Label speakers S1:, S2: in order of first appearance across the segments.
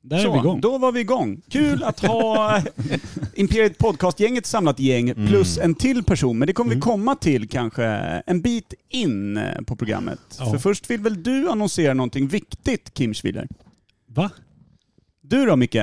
S1: Där är
S2: Så,
S1: vi igång.
S2: Då var vi igång. Kul att ha eh, Imperiet Podcast-gänget samlat gäng
S1: Mm.
S2: plus en till person. Men det kommer vi komma till kanske en bit in eh, på programmet.
S1: Ja.
S2: För först vill väl du annonsera någonting viktigt, Kim Schwiler?
S1: Va?
S2: Du då Micke?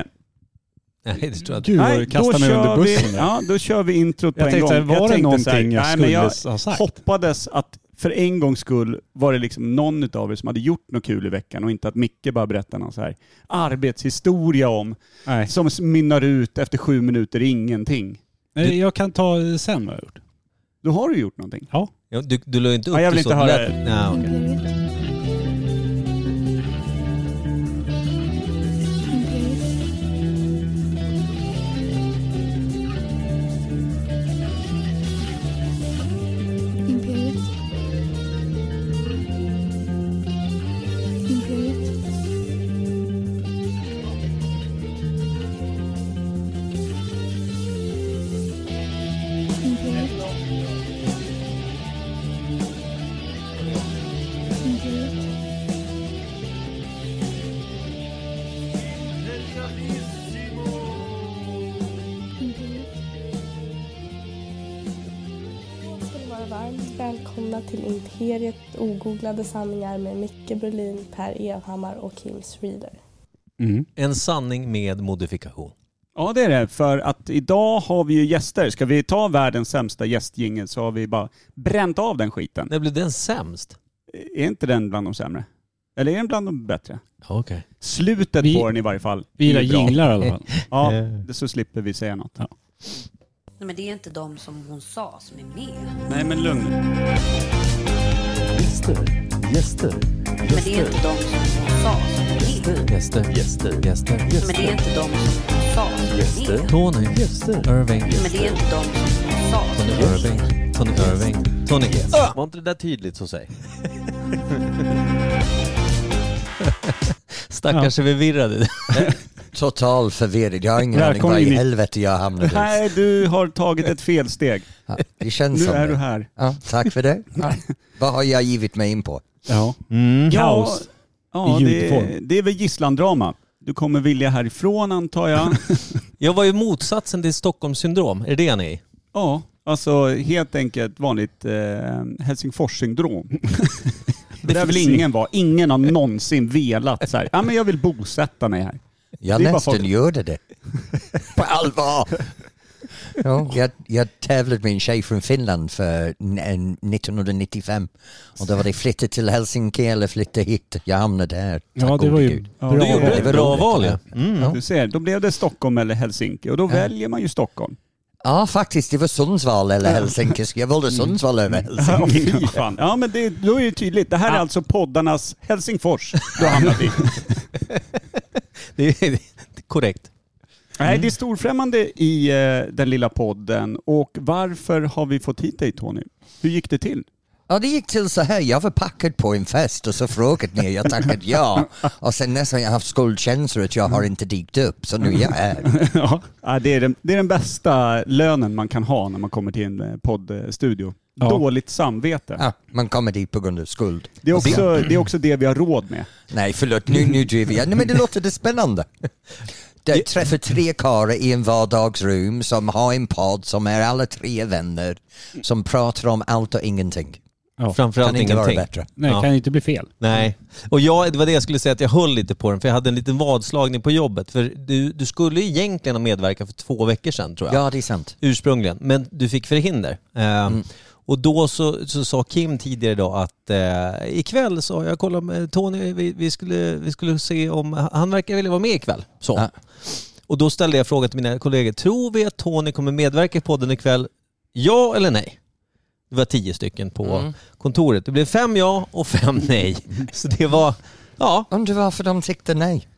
S3: Nej, det tror jag inte.
S1: Gud vad du kastar mig under bussen.
S2: vi,
S1: där.
S2: ja, då kör vi introt på
S1: Jag
S2: en
S1: tänkte,
S2: gång.
S1: var det någonting
S2: så här,
S1: jag
S2: nej, men
S1: skulle ha
S2: Jag
S1: sagt?
S2: hoppades att för en gångs skull var det liksom någon utav er som hade gjort något kul i veckan och inte att Micke bara berättar någon så här arbetshistoria om
S1: Nej.
S2: som mynnar ut efter sju minuter i ingenting.
S1: Nej, Jag kan ta eh, sen vad jag har gjort.
S2: Då har du gjort någonting.
S1: Ja.
S3: Ja, Du, du la ju inte upp
S2: Nej, jag vill
S3: det
S2: inte
S3: så
S2: höra
S3: lätt.
S2: det.
S3: Nej, okej.
S4: Imperiet. Imperiet. Imperiet. Imperiet. Imperiet.
S5: ska ni vara varmt välkomna till Imperiet ogooglade sanningar med Micke Berlin, Per Evhammar och Kim Schreeder.
S1: Mm.
S3: En sanning med modifikation.
S2: Ja det är det, för att idag har vi ju gäster. Ska vi ta världens sämsta gästjingel så har vi bara bränt av den skiten.
S3: När blev den sämst?
S2: Är inte den bland de sämre? Eller är den bland de bättre?
S3: Ja, okej.
S2: Slutet
S1: Vi-
S2: på den i varje fall.
S1: Vi gillar
S2: är bra.
S1: jinglar i alla fall. Eh.
S2: Ja, det- så slipper vi säga något.
S6: Nej, men det är inte de som hon sa som är med.
S2: Nej men lugn.
S7: Gäster, gäster,
S6: Men det är inte de som hon sa som är med.
S3: Gäster,
S7: gäster,
S3: gäster,
S6: Men det är inte de som hon sa som är med.
S3: Tony
S7: gäster.
S3: Irving.
S6: Men det är inte de som hon sa som
S3: Tony
S6: är med.
S3: Irving. Tony Irving. Tony Gäst.
S8: Var inte det där tydligt så säg?
S3: Stackars är förvirrade.
S8: Total förvirring. Jag har ingen aning
S2: Välkommen
S8: vad
S2: in
S8: i
S2: i-
S8: helvete jag hamnade i.
S2: Nej, du har tagit ett felsteg.
S8: Ja, Det känns
S2: Nu
S8: som
S2: är
S8: det.
S2: du här.
S8: Ja, tack för det. Vad har jag givit mig in på?
S1: Ja.
S2: Kaos. Ja,
S1: I
S2: det,
S1: ljudform.
S2: det är väl gisslandrama. Du kommer vilja härifrån antar jag.
S3: Jag var ju motsatsen till Stockholms syndrom. Är det det ni är?
S2: Ja, alltså helt enkelt vanligt eh, Helsingforssyndrom. Det där vill ingen vara. Ingen har någonsin velat så här. Ja, men jag vill bosätta mig här.
S8: Jag
S2: Det är bara
S8: nästan
S2: folk-
S8: gjorde det. På allvar. Ja, jag, jag tävlade med en tjej från Finland för n- en 1995 och då var det flytta till Helsinki eller flytta hit. Jag hamnade här.
S1: Ja,
S8: Tack
S1: det var
S8: gode
S1: ju
S8: Gud.
S1: bra.
S2: det
S3: Du gjorde
S8: det
S3: ett
S8: var
S3: bra
S8: roligt.
S3: val ja.
S2: Du ser, då blev det Stockholm eller Helsinki och då väljer man ju Stockholm.
S8: Ja, faktiskt. Det var Sundsvall eller Helsinki. Jag valde Sundsvall över Helsinki.
S2: Ja, fy fan. Ja, men det, då är det tydligt. Det här är alltså poddarnas Helsingfors du har hamnat i.
S3: Det är, det är korrekt.
S2: Nej, det är storfrämmande i eh, den lilla podden. Och varför har vi fått hit dig Tony? Hur gick det till?
S8: Ja, det gick till så här. Jag var packad på en fest och så frågade ni och jag tackade ja. Och sen nästan har jag haft skuldkänslor att jag har inte dykt upp, så nu är jag här.
S2: ja. det, är den, det är den bästa lönen man kan ha när man kommer till en eh, poddstudio.
S1: Ja.
S2: Dåligt samvete.
S8: Ja, man kommer dit på grund av skuld.
S2: Det, är
S8: Och sen-
S2: också, det är också det vi har råd med.
S8: Nej, förlåt, nu, nu driver jag. Nej, men det låter det spännande. Jag träffar tre karlar i en vardagsrum som har en podd som är alla tre vänner som pratar om allt och ingenting.
S1: Ja.
S3: Framförallt
S8: Kan inte vara
S3: ingenting.
S8: bättre.
S1: Nej,
S3: Ja.
S1: kan ju inte bli fel.
S3: Nej, och jag, det var det jag skulle säga att jag höll lite på den för jag hade en liten vadslagning på jobbet. För du, du skulle ju egentligen ha medverkat för två veckor sedan tror jag.
S8: Ja, det är sant.
S3: ursprungligen, men du fick förhinder. Eh,
S2: Mm.
S3: Och då så, så sa Kim tidigare idag att eh, ikväll så har jag kollat med Tony, vi, vi, skulle, vi skulle se om, han verkar vilja vara med ikväll. Så.
S8: Ja.
S3: Och då ställde jag frågan till mina kollegor, tror vi att Tony kommer medverka i podden ikväll? Ja eller nej? Det var tio stycken på
S2: Mm.
S3: kontoret. Det blev fem ja och fem nej. Så det var, ja,
S8: Undrar varför de tyckte nej.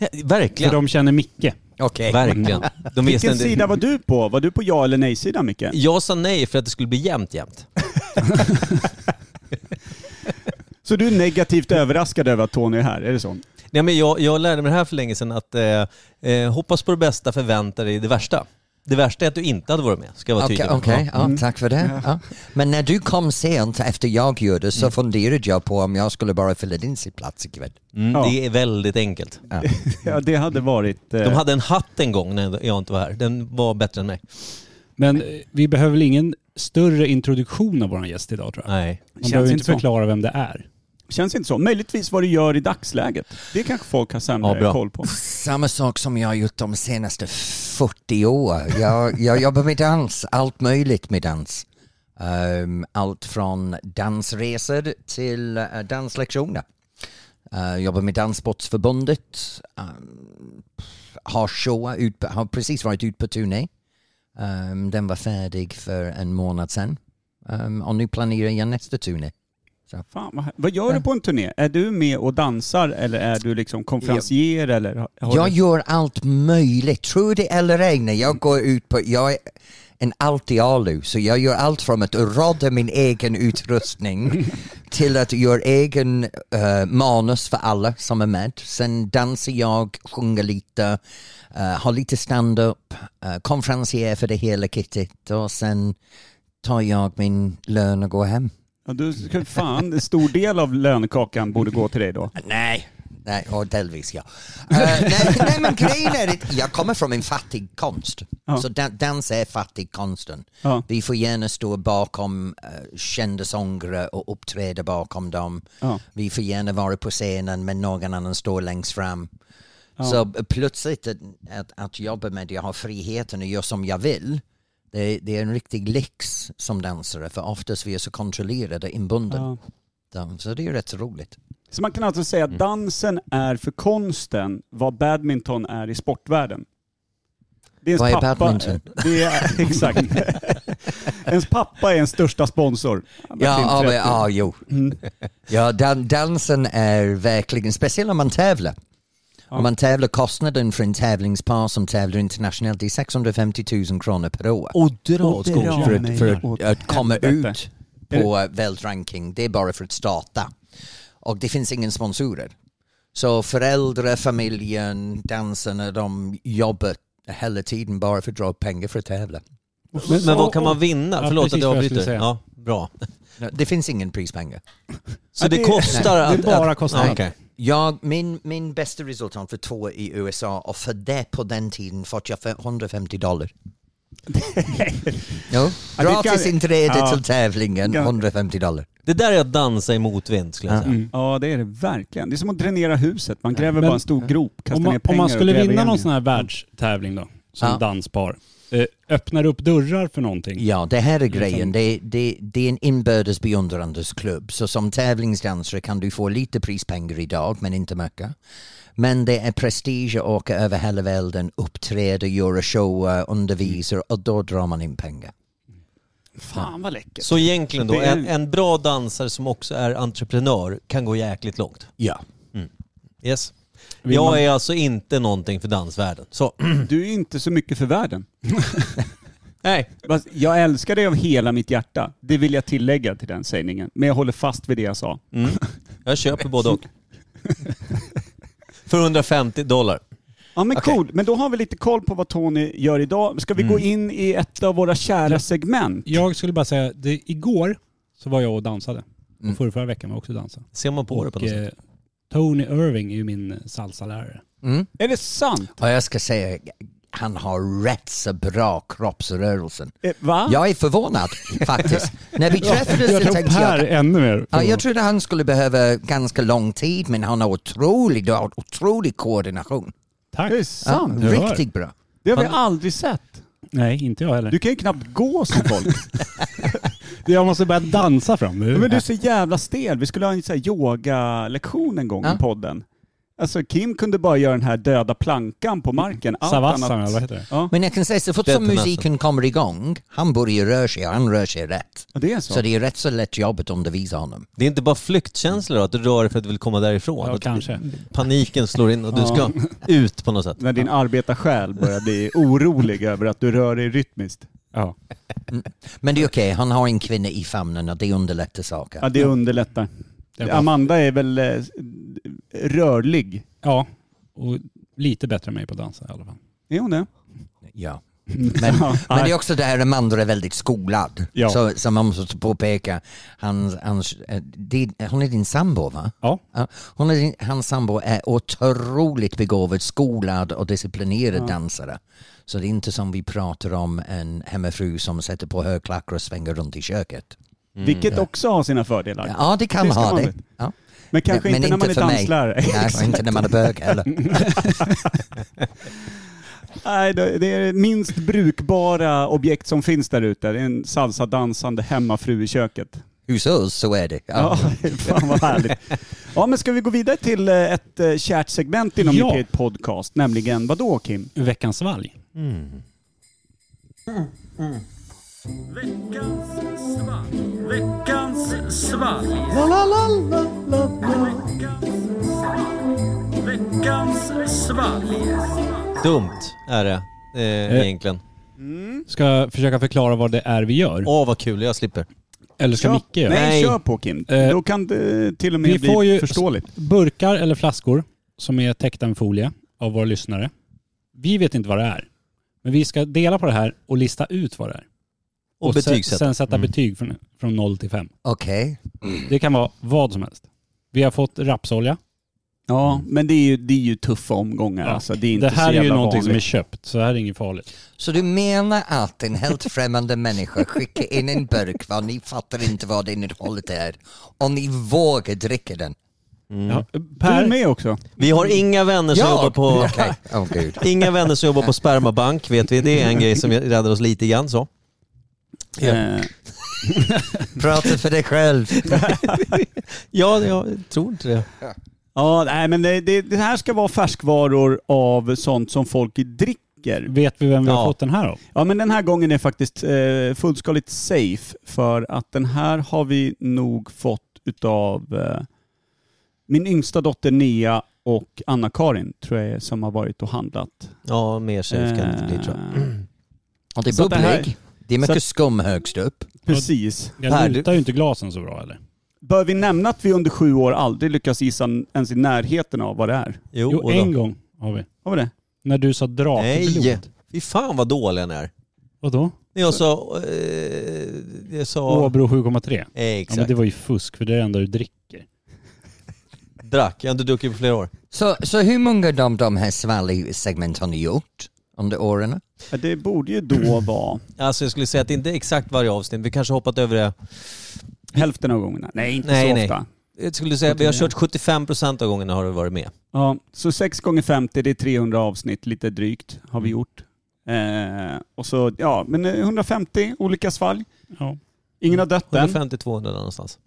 S1: För
S3: verkligen.
S1: de känner Micke.
S8: Okej.
S3: Verkligen. De visste
S2: Vilken
S3: inte-
S2: sida var du på? Var du på ja eller nej-sidan Micke?
S3: Jag sa nej för att det skulle bli jämnt jämnt.
S2: Så du är negativt överraskad över att Tony är här? Är det så?
S3: Nej, men jag, jag lärde mig det här för länge sedan att eh, eh, hoppas på det bästa, förvänta dig det värsta. Det värsta är att du inte hade varit med, ska jag vara
S8: Okej,
S3: tydlig med.
S8: okej. ja, tack för det. Ja. Men när du kom sent efter jag gjorde så funderade jag på om jag skulle bara fylla din plats ikväll.
S3: Mm,
S2: Ja.
S3: Det är väldigt enkelt.
S1: Eh.
S2: Ja, det hade varit... eh,
S3: De hade en hatt en gång när jag inte var här. Den var bättre än mig.
S1: Men eh, vi behöver väl ingen större introduktion av vår gäst idag tror jag.
S3: Nej.
S1: Man
S2: Känns
S1: behöver
S2: inte
S1: inte
S2: så.
S1: förklara vem det är.
S2: Känns inte så. Möjligtvis vad det gör i dagsläget. Det kanske folk har
S3: Ja,
S2: sämre
S3: bra.
S2: koll på.
S8: Samma sak som jag har gjort de senaste 40 åren. Jag, jag jobbar med dans, allt möjligt med dans. Ehm, allt från dansresor till eh, danslektioner. Eh, jobbar med Danssportsförbundet. Ehm, har, show ut, har precis varit ut på turné. Ehm, den var färdig för en månad sedan. Ehm, och nu planerar jag nästa turné.
S2: Fan, vad, här- vad gör du på en turné? Är du med och dansar eller är du liksom konferencier? Eller har, har
S8: Jag
S2: du...
S8: gör allt möjligt, tro det eller ej, när jag går ut på... Jag är en alltialu, så jag gör allt från att rodda min egen utrustning till att göra egen eh, manus för alla som är med. Sen dansar jag, sjunger lite, eh, har lite stand-up, uh, konferensier för det hela kittet och sen tar jag min lön och går hem.
S2: Ja, du ska- fan, en stor del av lönekakan borde gå till dig då.
S8: Nej. Nej, och delvis ja. Eh, nej, nej men grejen är att jag kommer från en fattig konst.
S2: Ja.
S8: Så dan- dans är fattigkonsten.
S2: Ja.
S8: Vi får gärna stå bakom eh, kända sångare och uppträda bakom dem.
S2: Ja.
S8: Vi får gärna vara på scenen men någon annan står längst fram. Så plötsligt att, att, att jobba med det, jag har friheten att göra som jag vill. Det, det är en riktig lyx som dansare för oftast vi är så kontrollerade inbunden. Så- Så det är rätt roligt.
S2: Så man kan alltså säga
S8: Mm.
S2: att dansen är för konsten vad badminton är i sportvärlden. Det ens
S8: Vad är
S2: pappa-
S8: badminton?
S2: Det är, exakt. ens pappa är ens största sponsor.
S8: Ja, ja, men,
S2: Martin
S8: ja
S2: Tretti.
S8: jo. Ja, dan dansen är verkligen, speciellt om man tävlar. Om man tävlar, kostnaden för en tävlingspar som tävlar internationellt det är 650 000 kronor per år.
S3: Och dra åt
S2: dra
S3: skogen.
S8: för
S2: mig
S8: att, för
S2: åt
S8: att, att komma
S2: helvete.
S8: ut på världsranking, det är bara för att starta. Och det finns ingen sponsorer. Så föräldrar, familjen, dansarna, de jobbar hela tiden bara för att dra upp pengar för att tävla.
S3: Men, men vad kan man vinna?
S1: Ja,
S3: Förlåt att
S1: precis
S3: jag
S1: vad jag skulle
S3: avbryter.
S1: säga.
S3: Ja, bra.
S8: Det finns ingen prispengar.
S3: Så det,
S2: det-
S3: kostar
S1: nej,
S3: att...
S1: det är bara
S3: att-
S1: kostnader.
S3: Ja, okej.
S8: Jag, min, min bästa resultat för två i USA och för det på den tiden fått jag för 150 dollar. jo,
S2: Ja, det
S8: gratis
S2: kan-
S8: inträde
S2: ja.
S8: till tävlingen,
S2: Ja.
S8: 150 dollar.
S3: Det där är att dansa i motvind skulle jag säga.
S1: Mm.
S2: Ja, det är det verkligen. Det är som att dränera huset. Man gräver
S1: Men-
S2: bara en stor grop, kastar
S1: Om man,
S2: ner pengar
S1: om man
S2: och
S1: skulle
S2: gräver
S1: vinna
S2: igen
S1: någon
S2: igen.
S1: sån här världstävling då, som
S8: Ja.
S1: danspar, eh, öppnar upp dörrar för någonting?
S8: Ja, det här är grejen. Det, det, det är en inbördes beundransklubb. Så som tävlingsdansare kan du få lite prispengar idag, men inte mycket. Men det är prestige att åka över hela världen, uppträda, göra shower, undervisa och då drar man in pengar.
S2: Fan vad läckert.
S3: Så egentligen då,
S2: Det är-
S3: en, en bra dansare som också är entreprenör kan gå jäkligt långt. Mm.
S8: Ja.
S3: Yes. Jag är alltså inte någonting för dansvärlden. Så,
S2: Du är inte så mycket för världen.
S3: nej.
S2: Fast Jag älskar dig av hela mitt hjärta. Det vill jag tillägga till den sägningen. Men jag håller fast vid det jag sa.
S3: Jag köper både och. För 150 dollar.
S2: Ja men cool. Men då har vi lite koll på vad Tony gör idag. Ska vi
S1: Mm.
S2: gå in i ett av våra kära segment?
S1: Jag skulle bara säga, det, igår så var jag och dansade.
S8: Mm.
S1: Och förra, förra veckan var jag också och dansade.
S3: Ser man på det på
S1: Och,
S3: något sätt?
S1: eh, Tony Irving är ju min salsalärare.
S8: Mm.
S2: Är det sant?
S8: Och jag ska säga, han har rätt så bra kroppsrörelsen.
S2: Eh, Va?
S8: Jag är förvånad faktiskt. När vi träffades så
S1: Jag tror
S8: tänkte
S1: Per
S8: jag
S1: ännu mer.
S8: Ja, jag trodde han skulle behöva ganska lång tid men han har otrolig, du har otrolig koordination.
S1: Tack.
S2: Det är
S8: Ja,
S2: sant.
S1: du hör.
S8: riktigt bra.
S2: Det har vi aldrig sett.
S1: Nej, inte jag heller.
S2: Du kan ju knappt gå som folk.
S1: jag måste börja dansa fram nu.
S2: Men du är så jävla stel. Vi skulle ha en sån här yogalektion en gång
S8: Ja.
S2: i podden. Alltså Kim kunde bara göra den här döda plankan på marken. Allt
S1: Savassan, eller
S2: annat.
S1: vad heter det?
S2: Ja,
S8: Men jag kan säga så fort
S3: Det är
S8: som
S3: tendensen.
S8: musiken kommer igång, han börjar röra sig och han rör sig rätt.
S2: det är så.
S8: Så det är rätt så lätt jobb att undervisa honom.
S3: Det är inte bara flyktkänslor då, att du rör dig för att du vill komma därifrån.
S1: Ja,
S3: att
S1: kanske.
S3: Paniken slår in och du ska ut på något sätt.
S2: När din arbetarsjäl börjar bli orolig över att du rör dig rytmiskt.
S1: Ja.
S8: Men det är okej, han har en kvinna i famnen och det underlättar saker.
S2: Ja, det underlättar.
S1: Det är bra.
S2: Amanda är väl eh, rörlig?
S1: ja, och lite bättre än mig på att dansa i alla fall.
S2: Är hon det?
S8: Ja. Men, men det är också det här att andra är väldigt skolad.
S2: Ja.
S8: Så, som man måste påpeka, hans, hans, eh, din, hon är din sambo va?
S1: Ja.
S8: Ja, Hon är din, hans sambo är otroligt begåvad, skolad och disciplinerad dansare. Så det är inte som vi pratar om en hemmafru som sätter på högklackar och svänger runt i köket.
S2: Vilket också har sina fördelar.
S8: Ja, det kan
S2: Det ska
S8: ha
S2: man
S8: det.
S2: väl.
S8: Ja.
S2: Men kanske
S8: Men-
S2: inte när
S8: men
S2: man
S8: inte
S2: är
S8: för mig.
S2: danslärare.
S8: Nej, och inte när man är bög heller.
S2: Nej, det det är det minst brukbara objekt som finns där ute. Det är en salsa-dansande hemmafru i köket.
S8: Hos oss så är det. Ja.
S2: Ja, fan vad härligt. Ja, men ska vi gå vidare till eh, ett eh, kärt segment inom
S1: Ja.
S2: ja. Mitt Podcast, nämligen vad då Kim?
S1: Veckans svalg.
S3: Dumt är det eh, egentligen.
S1: Ska jag försöka förklara vad det är vi gör?
S3: Åh vad kul, jag slipper.
S1: Eller ska
S2: Kör-
S1: Micke göra?
S2: Nej,
S3: Nej.
S2: kör på Kim.
S1: Eh,
S2: Då kan det till och med
S1: vi
S2: bli
S1: får ju-
S2: förståeligt.
S1: Burkar eller flaskor som är täckta med folie av våra lyssnare. Vi vet inte vad det är. Men vi ska dela på det här och lista ut vad det är.
S3: Och,
S1: se-
S3: betygsätta.
S1: Sen sätta
S3: Mm.
S1: betyg från, från 0 till 5.
S8: Okej.
S1: Det kan vara vad som helst. Vi har fått rapsolja.
S2: Ja, men det är ju, det är ju tuffa omgångar.
S1: Ja.
S2: Alltså, det, är inte
S1: Det här
S2: så
S1: är ju
S2: jävla
S1: någonting som är
S2: vanligt.
S1: köpt, så det här är inget farligt.
S8: Så du menar att en helt främmande människa skickar in en burk vad ni fattar inte vad innehållet är och ni vågar dricka den?
S1: Ja,
S2: Du är
S1: per,
S2: med också.
S3: Vi har inga vänner som jobbar på...
S8: Okej. Åh gud.
S3: Inga vänner som jobbar på spermabank vet vi. Det är en grej som räddar oss lite grann så.
S2: Eh,
S8: Prata för dig själv.
S3: Ja, jag tror inte det.
S2: ja, nej, men det, det, det här ska vara färskvaror av sånt som folk dricker.
S1: vet vi vem vi har
S3: Ja.
S1: fått den här av?
S2: Ja, men den här gången är faktiskt eh, fullskaligt safe för att den här har vi nog fått utav eh, min yngsta dotter Nia och Anna-Karin tror jag är, som har varit och handlat.
S3: Ja, mer safe kan det inte bli tror jag.
S2: Eh,
S8: Och det är
S2: Så det här-
S8: bubblig. Det är mycket skum högst upp.
S2: Precis.
S1: Jag
S8: Per, du-
S1: lutar ju inte glasen så bra eller?
S2: Bör vi nämna att vi under sju år aldrig lyckas gissa ens i närheten av vad det är?
S3: Jo,
S1: Jo,
S3: och
S1: en
S3: då.
S1: gång har vi.
S2: Har vi det?
S1: När du sa
S3: Nej!
S1: drakblod.
S3: Fy fan vad dålig den är.
S1: Vadå?
S3: När jag sa... Eh, jag sa...
S1: Åbro 7,3. Ja, men
S3: Exakt.
S1: det var ju fusk för det är det enda du dricker.
S3: Drack. Jag har inte druckit på flera år.
S8: Så, så hur många av de, de här svalg-segment har ni gjort under åren?
S2: Ja, Det borde ju då vara
S3: Alltså jag skulle säga att det inte är exakt varje avsnitt. Vi kanske har hoppat över det.
S2: hälften av gångerna. Nej, inte
S3: Nej,
S2: så
S3: nej.
S2: ofta.
S3: Jag skulle säga att vi har kört 75% av gångerna har du varit med.
S2: Ja, så 6 gånger 50 det är 300 avsnitt, lite drygt, har vi gjort. Eh, och så, ja, men eh, 150 olika svalg.
S1: Ja.
S2: Ingen har dött än.
S3: 150-200 där någonstans.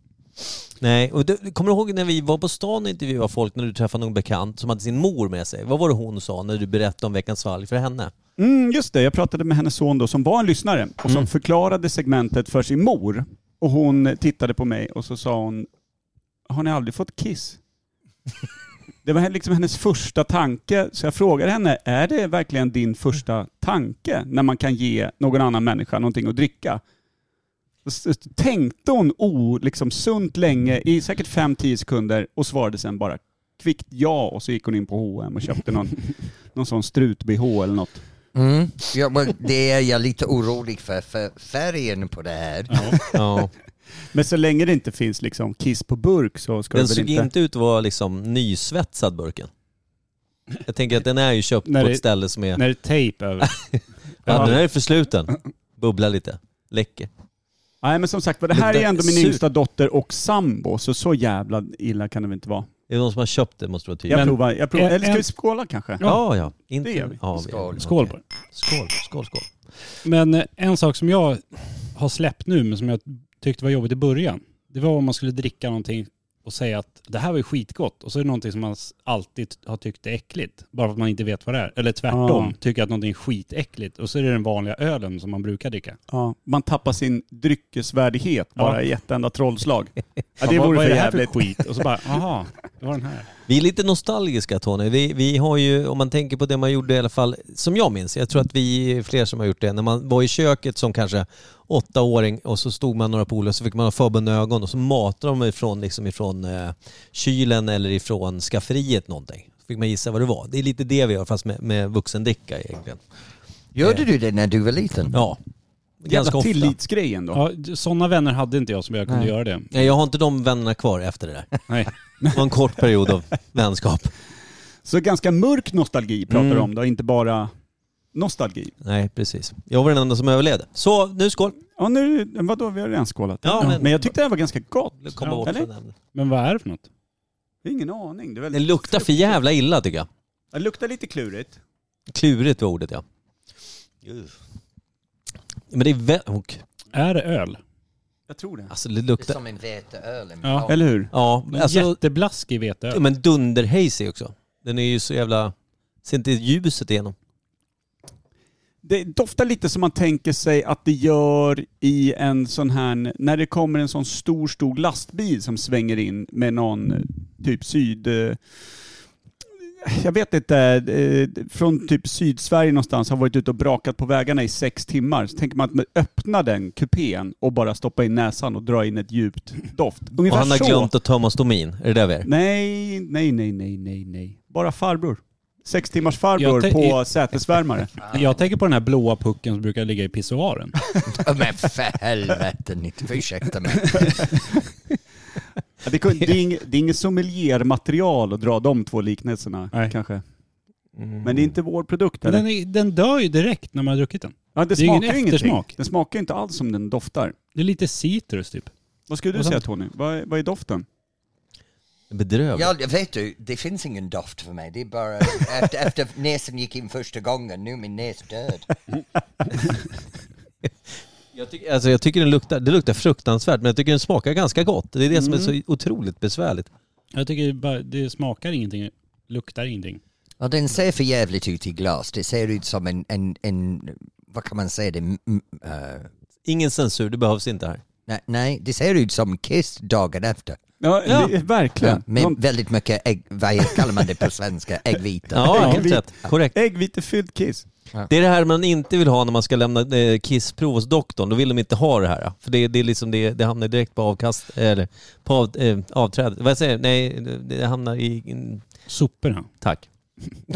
S3: Nej, och du, kommer du ihåg när vi var på stan och intervjuade folk när du träffade någon bekant som hade sin mor med sig? Vad var det hon sa när du berättade om veckans svalg för henne?
S2: Mm, just det, jag pratade med hennes son då som var en lyssnare och som
S3: Mm.
S2: förklarade segmentet för sin mor. Och hon tittade på mig och så sa hon, har ni aldrig fått kiss? det var liksom hennes första tanke, så jag frågade henne, är det verkligen din första tanke när man kan ge någon annan människa någonting att dricka? Och så Tänkte hon o, liksom sunt länge i säkert 5-10 sekunder och svarade sen bara kvickt ja och så gick hon in på H&M och köpte någon, någon sån strut-bh eller något.
S8: Mm. Ja, men det är jag lite orolig för, för färgen på det här.
S3: Ja.
S2: Men så länge det inte finns liksom kiss på burk så ska
S3: Den
S2: det väl
S3: såg
S2: inte...
S3: inte ut att vara liksom nysvetsad burken. Jag tänker att den är ju köpt
S1: När
S3: på
S1: det-
S3: ett ställe som är...
S1: När det är tejp över.
S3: Ja, den är försluten. Bubblar lite. Läcker.
S2: Nej men som sagt det
S3: Men
S2: här är
S3: den-
S2: ändå min
S3: sur.
S2: yngsta dotter och sambo så så jävla illa kan det väl inte vara.
S3: Det är de som har köpt det måste vara
S2: Jag
S3: tydligt.
S2: provar. Jag provar.
S1: en-
S2: Eller ska
S1: en-
S2: vi skåla kanske?
S3: Ja, ja. Inte...
S2: Det gör vi.
S3: Ja,
S8: Skål.
S1: Skål på det.
S3: Skål, skål, skål.
S1: Men eh, en sak som jag har släppt nu, men som jag tyckte var jobbigt i början, det var om man skulle dricka någonting och säga att det här var ju skitgott och så är det någonting som man s- alltid har tyckt är äckligt, bara för att man inte vet vad det är. Eller tvärtom,
S2: Ja.
S1: tycker att någonting är skitäckligt och så är det den vanliga ölen som man brukar dricka.
S2: Ja. Man tappar sin dryckesvärdighet
S1: Ja.
S2: bara i ett enda trollslag. Ja,
S1: Fan,
S2: det
S1: vad,
S2: vore
S1: vad är
S2: för
S1: det här
S2: jävligt.
S1: för skit? Och så bara, jaha, det var den här.
S3: Vi är lite nostalgiska Tony. Vi, vi har ju, om man tänker på det man gjorde i alla fall, som jag minns, jag tror att vi är fler som har gjort det, när man var i köket som kanske åttaåring och så stod man några polare och så fick man ha förbundna ögon och så matade de ifrån, liksom ifrån eh, kylen eller ifrån skafferiet någonting. Så fick man gissa vad det var. Det är lite det vi gör fast med, med vuxendricka egentligen.
S8: Gjorde du det när du var liten?
S3: Ja. Ganska
S2: Jävla
S3: ofta.
S2: tillitsgrejen då.
S1: Ja, sådana vänner hade inte jag som jag kunde
S3: Nej.
S1: göra det.
S3: Nej, jag har inte de vännerna kvar efter det där.
S1: Nej.
S3: Det var en kort period av vänskap.
S2: Så ganska mörk nostalgi pratar du
S3: Mm.
S2: om då, inte bara nostalgi.
S3: Nej, precis. Jag var den enda som överlevde. Så, nu skål!
S2: Ja nu, vadå vi har redan skålat?
S3: Ja, men-
S2: men jag tyckte det här var ganska gott.
S3: Jag vill komma
S2: Ja,
S3: bort
S2: eller?
S3: från den.
S1: Men vad är det för något?
S2: Det är Ingen aning. Det, är väldigt,
S3: Den luktar för jävla illa tycker jag.
S2: det luktar lite klurigt.
S3: Klurigt var ordet ja. Men det är väldigt... och-
S1: Är det öl?
S2: Jag tror det.
S3: Alltså det
S8: Det är
S3: luktar...
S8: som en veteöl.
S1: Ja.
S2: Eller hur?
S3: Ja, alltså...
S1: Jätteblaskig veteöl.
S3: Men dunderhazy också. Den är ju så jävla... Ser inte ljuset igenom.
S2: Det doftar lite som man tänker sig att det gör i en sån här, när det kommer en sån stor, stor lastbil som svänger in med någon eh, typ syd... eh, Jag vet inte, eh, från typ Sydsverige någonstans har varit ute och brakat på vägarna i sex timmar. Så tänker man att man öppnar den kupén och bara stoppa in näsan och dra in ett djupt doft. Ungefär
S3: Och han har
S2: så.
S3: glömt att tömma stomin. Är det där vi är?
S2: Nej, nej, nej, nej, nej, nej. Bara farbror. Sex timmars
S1: Jag
S2: farbror
S1: te-
S2: på sätesvärmare.
S1: Jag tänker på den här blåa pucken som brukar ligga i pissoaren.
S8: Men för helvete, ni- ursäkta mig.
S2: Ja, Det, kun- det, är ing, det är inget sommeliermaterial att dra de två liknelserna
S1: Nej.
S2: kanske. Men det är inte vår produkt.
S1: Men
S2: Eller?
S1: den, är, den dör ju direkt när man har druckit den.
S2: ja, det,
S1: det är
S2: smakar
S1: ingen
S2: ju ingenting.
S1: eftersmak.
S2: Den smakar ju inte alls som den doftar.
S1: Det är lite citrus typ.
S2: Vad skulle du
S1: Och sen-
S2: säga Tony? Vad, är- vad är doften?
S3: Bedrövligt.
S8: Ja, jag vet du, det finns ingen doft för mig. Det är bara efter, efter näsan gick in första gången, nu är min näs död.
S3: Jag tycker, alltså jag tycker den luktar, det luktar fruktansvärt men jag tycker den smakar ganska gott. Det är det som är
S2: Mm.
S3: så otroligt besvärligt.
S1: Jag tycker bara, det smakar ingenting, luktar ingenting.
S8: Ja, den ser för jävligt ut i glas. Det ser ut som en, en, en vad kan man säga det? M- m- eh,
S3: Ingen censur, det behövs inte här.
S8: nej, nej, det ser ut som Kiss dagen efter.
S2: Ja,
S3: Ja.
S2: Det, verkligen.
S8: Med
S2: Någon
S8: väldigt mycket ägg, vad kallar man det på svenska? Äggvita.
S3: Ja, helt
S2: vi-
S3: rätt. Korrekt.
S2: äggvitefylld kiss.
S3: Det är det här man inte vill ha när man ska lämna eh, kissprov hos doktorn. Då vill de inte ha det här. För det, det, är liksom det, det hamnar direkt på avkast, eller på av, eh, avträdet. Vad jag säger Nej, det- det hamnar i... in-
S1: Soporna.
S3: Tack.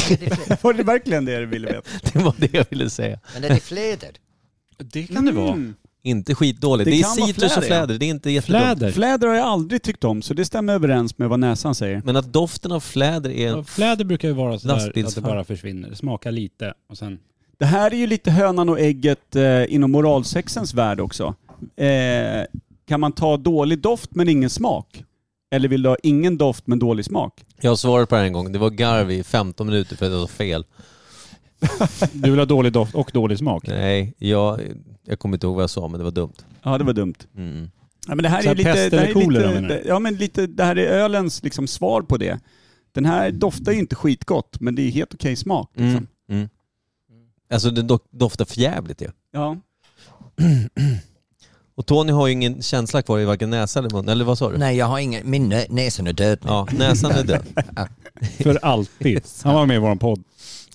S2: Var det verkligen det du ville veta?
S3: Det var det jag ville säga.
S8: Men är det fläder?
S1: Det kan det vara.
S2: Mm.
S3: Inte skitdåligt.
S2: Det
S3: Det,
S2: kan
S3: är
S2: vara
S3: citrus
S2: fläder,
S3: och
S2: ja.
S3: fläder. Det är inte jättedumt.
S1: Fläder.
S2: Fläder har jag aldrig tyckt om, så det stämmer överens med vad näsan säger.
S3: Men att doften av fläder är...
S1: Ja, Fläder brukar ju vara sådär att det
S3: Lastbilsfärg.
S1: bara försvinner. Det smakar lite och sen...
S2: Det här är ju lite hönan och ägget eh, inom moralsexens värld också. Eh, kan man ta dålig doft men ingen smak? Eller vill du ha ingen doft men dålig smak?
S3: Jag svarade på det här en gång. Det var garv i 15 minuter för att jag sa fel.
S1: Du vill ha dålig doft och dålig smak.
S3: Nej, jag, jag kommer inte ihåg vad jag sa men det var dumt.
S2: Ja, det var dumt.
S3: Mm.
S2: Ja, men det här
S1: Så
S2: är
S1: här
S2: lite,
S1: pest
S2: det här
S1: eller kolera,
S2: är
S1: menar
S2: lite,
S1: du?
S2: ja, men lite, det här är ölens liksom svar på det. Den här doftar ju inte skitgott, men det är helt okej smak. Liksom.
S3: Mm. Mm. Alltså det do- doftar förjävligt ju.
S2: Ja.
S3: Och Tony har ju ingen känsla kvar i varken näsa eller mun. Eller vad sa du?
S8: Nej, jag har ingen, min nä- näsan är död nu.
S3: Ja, näsan är död.
S1: För alltid. Han var med i vår podd.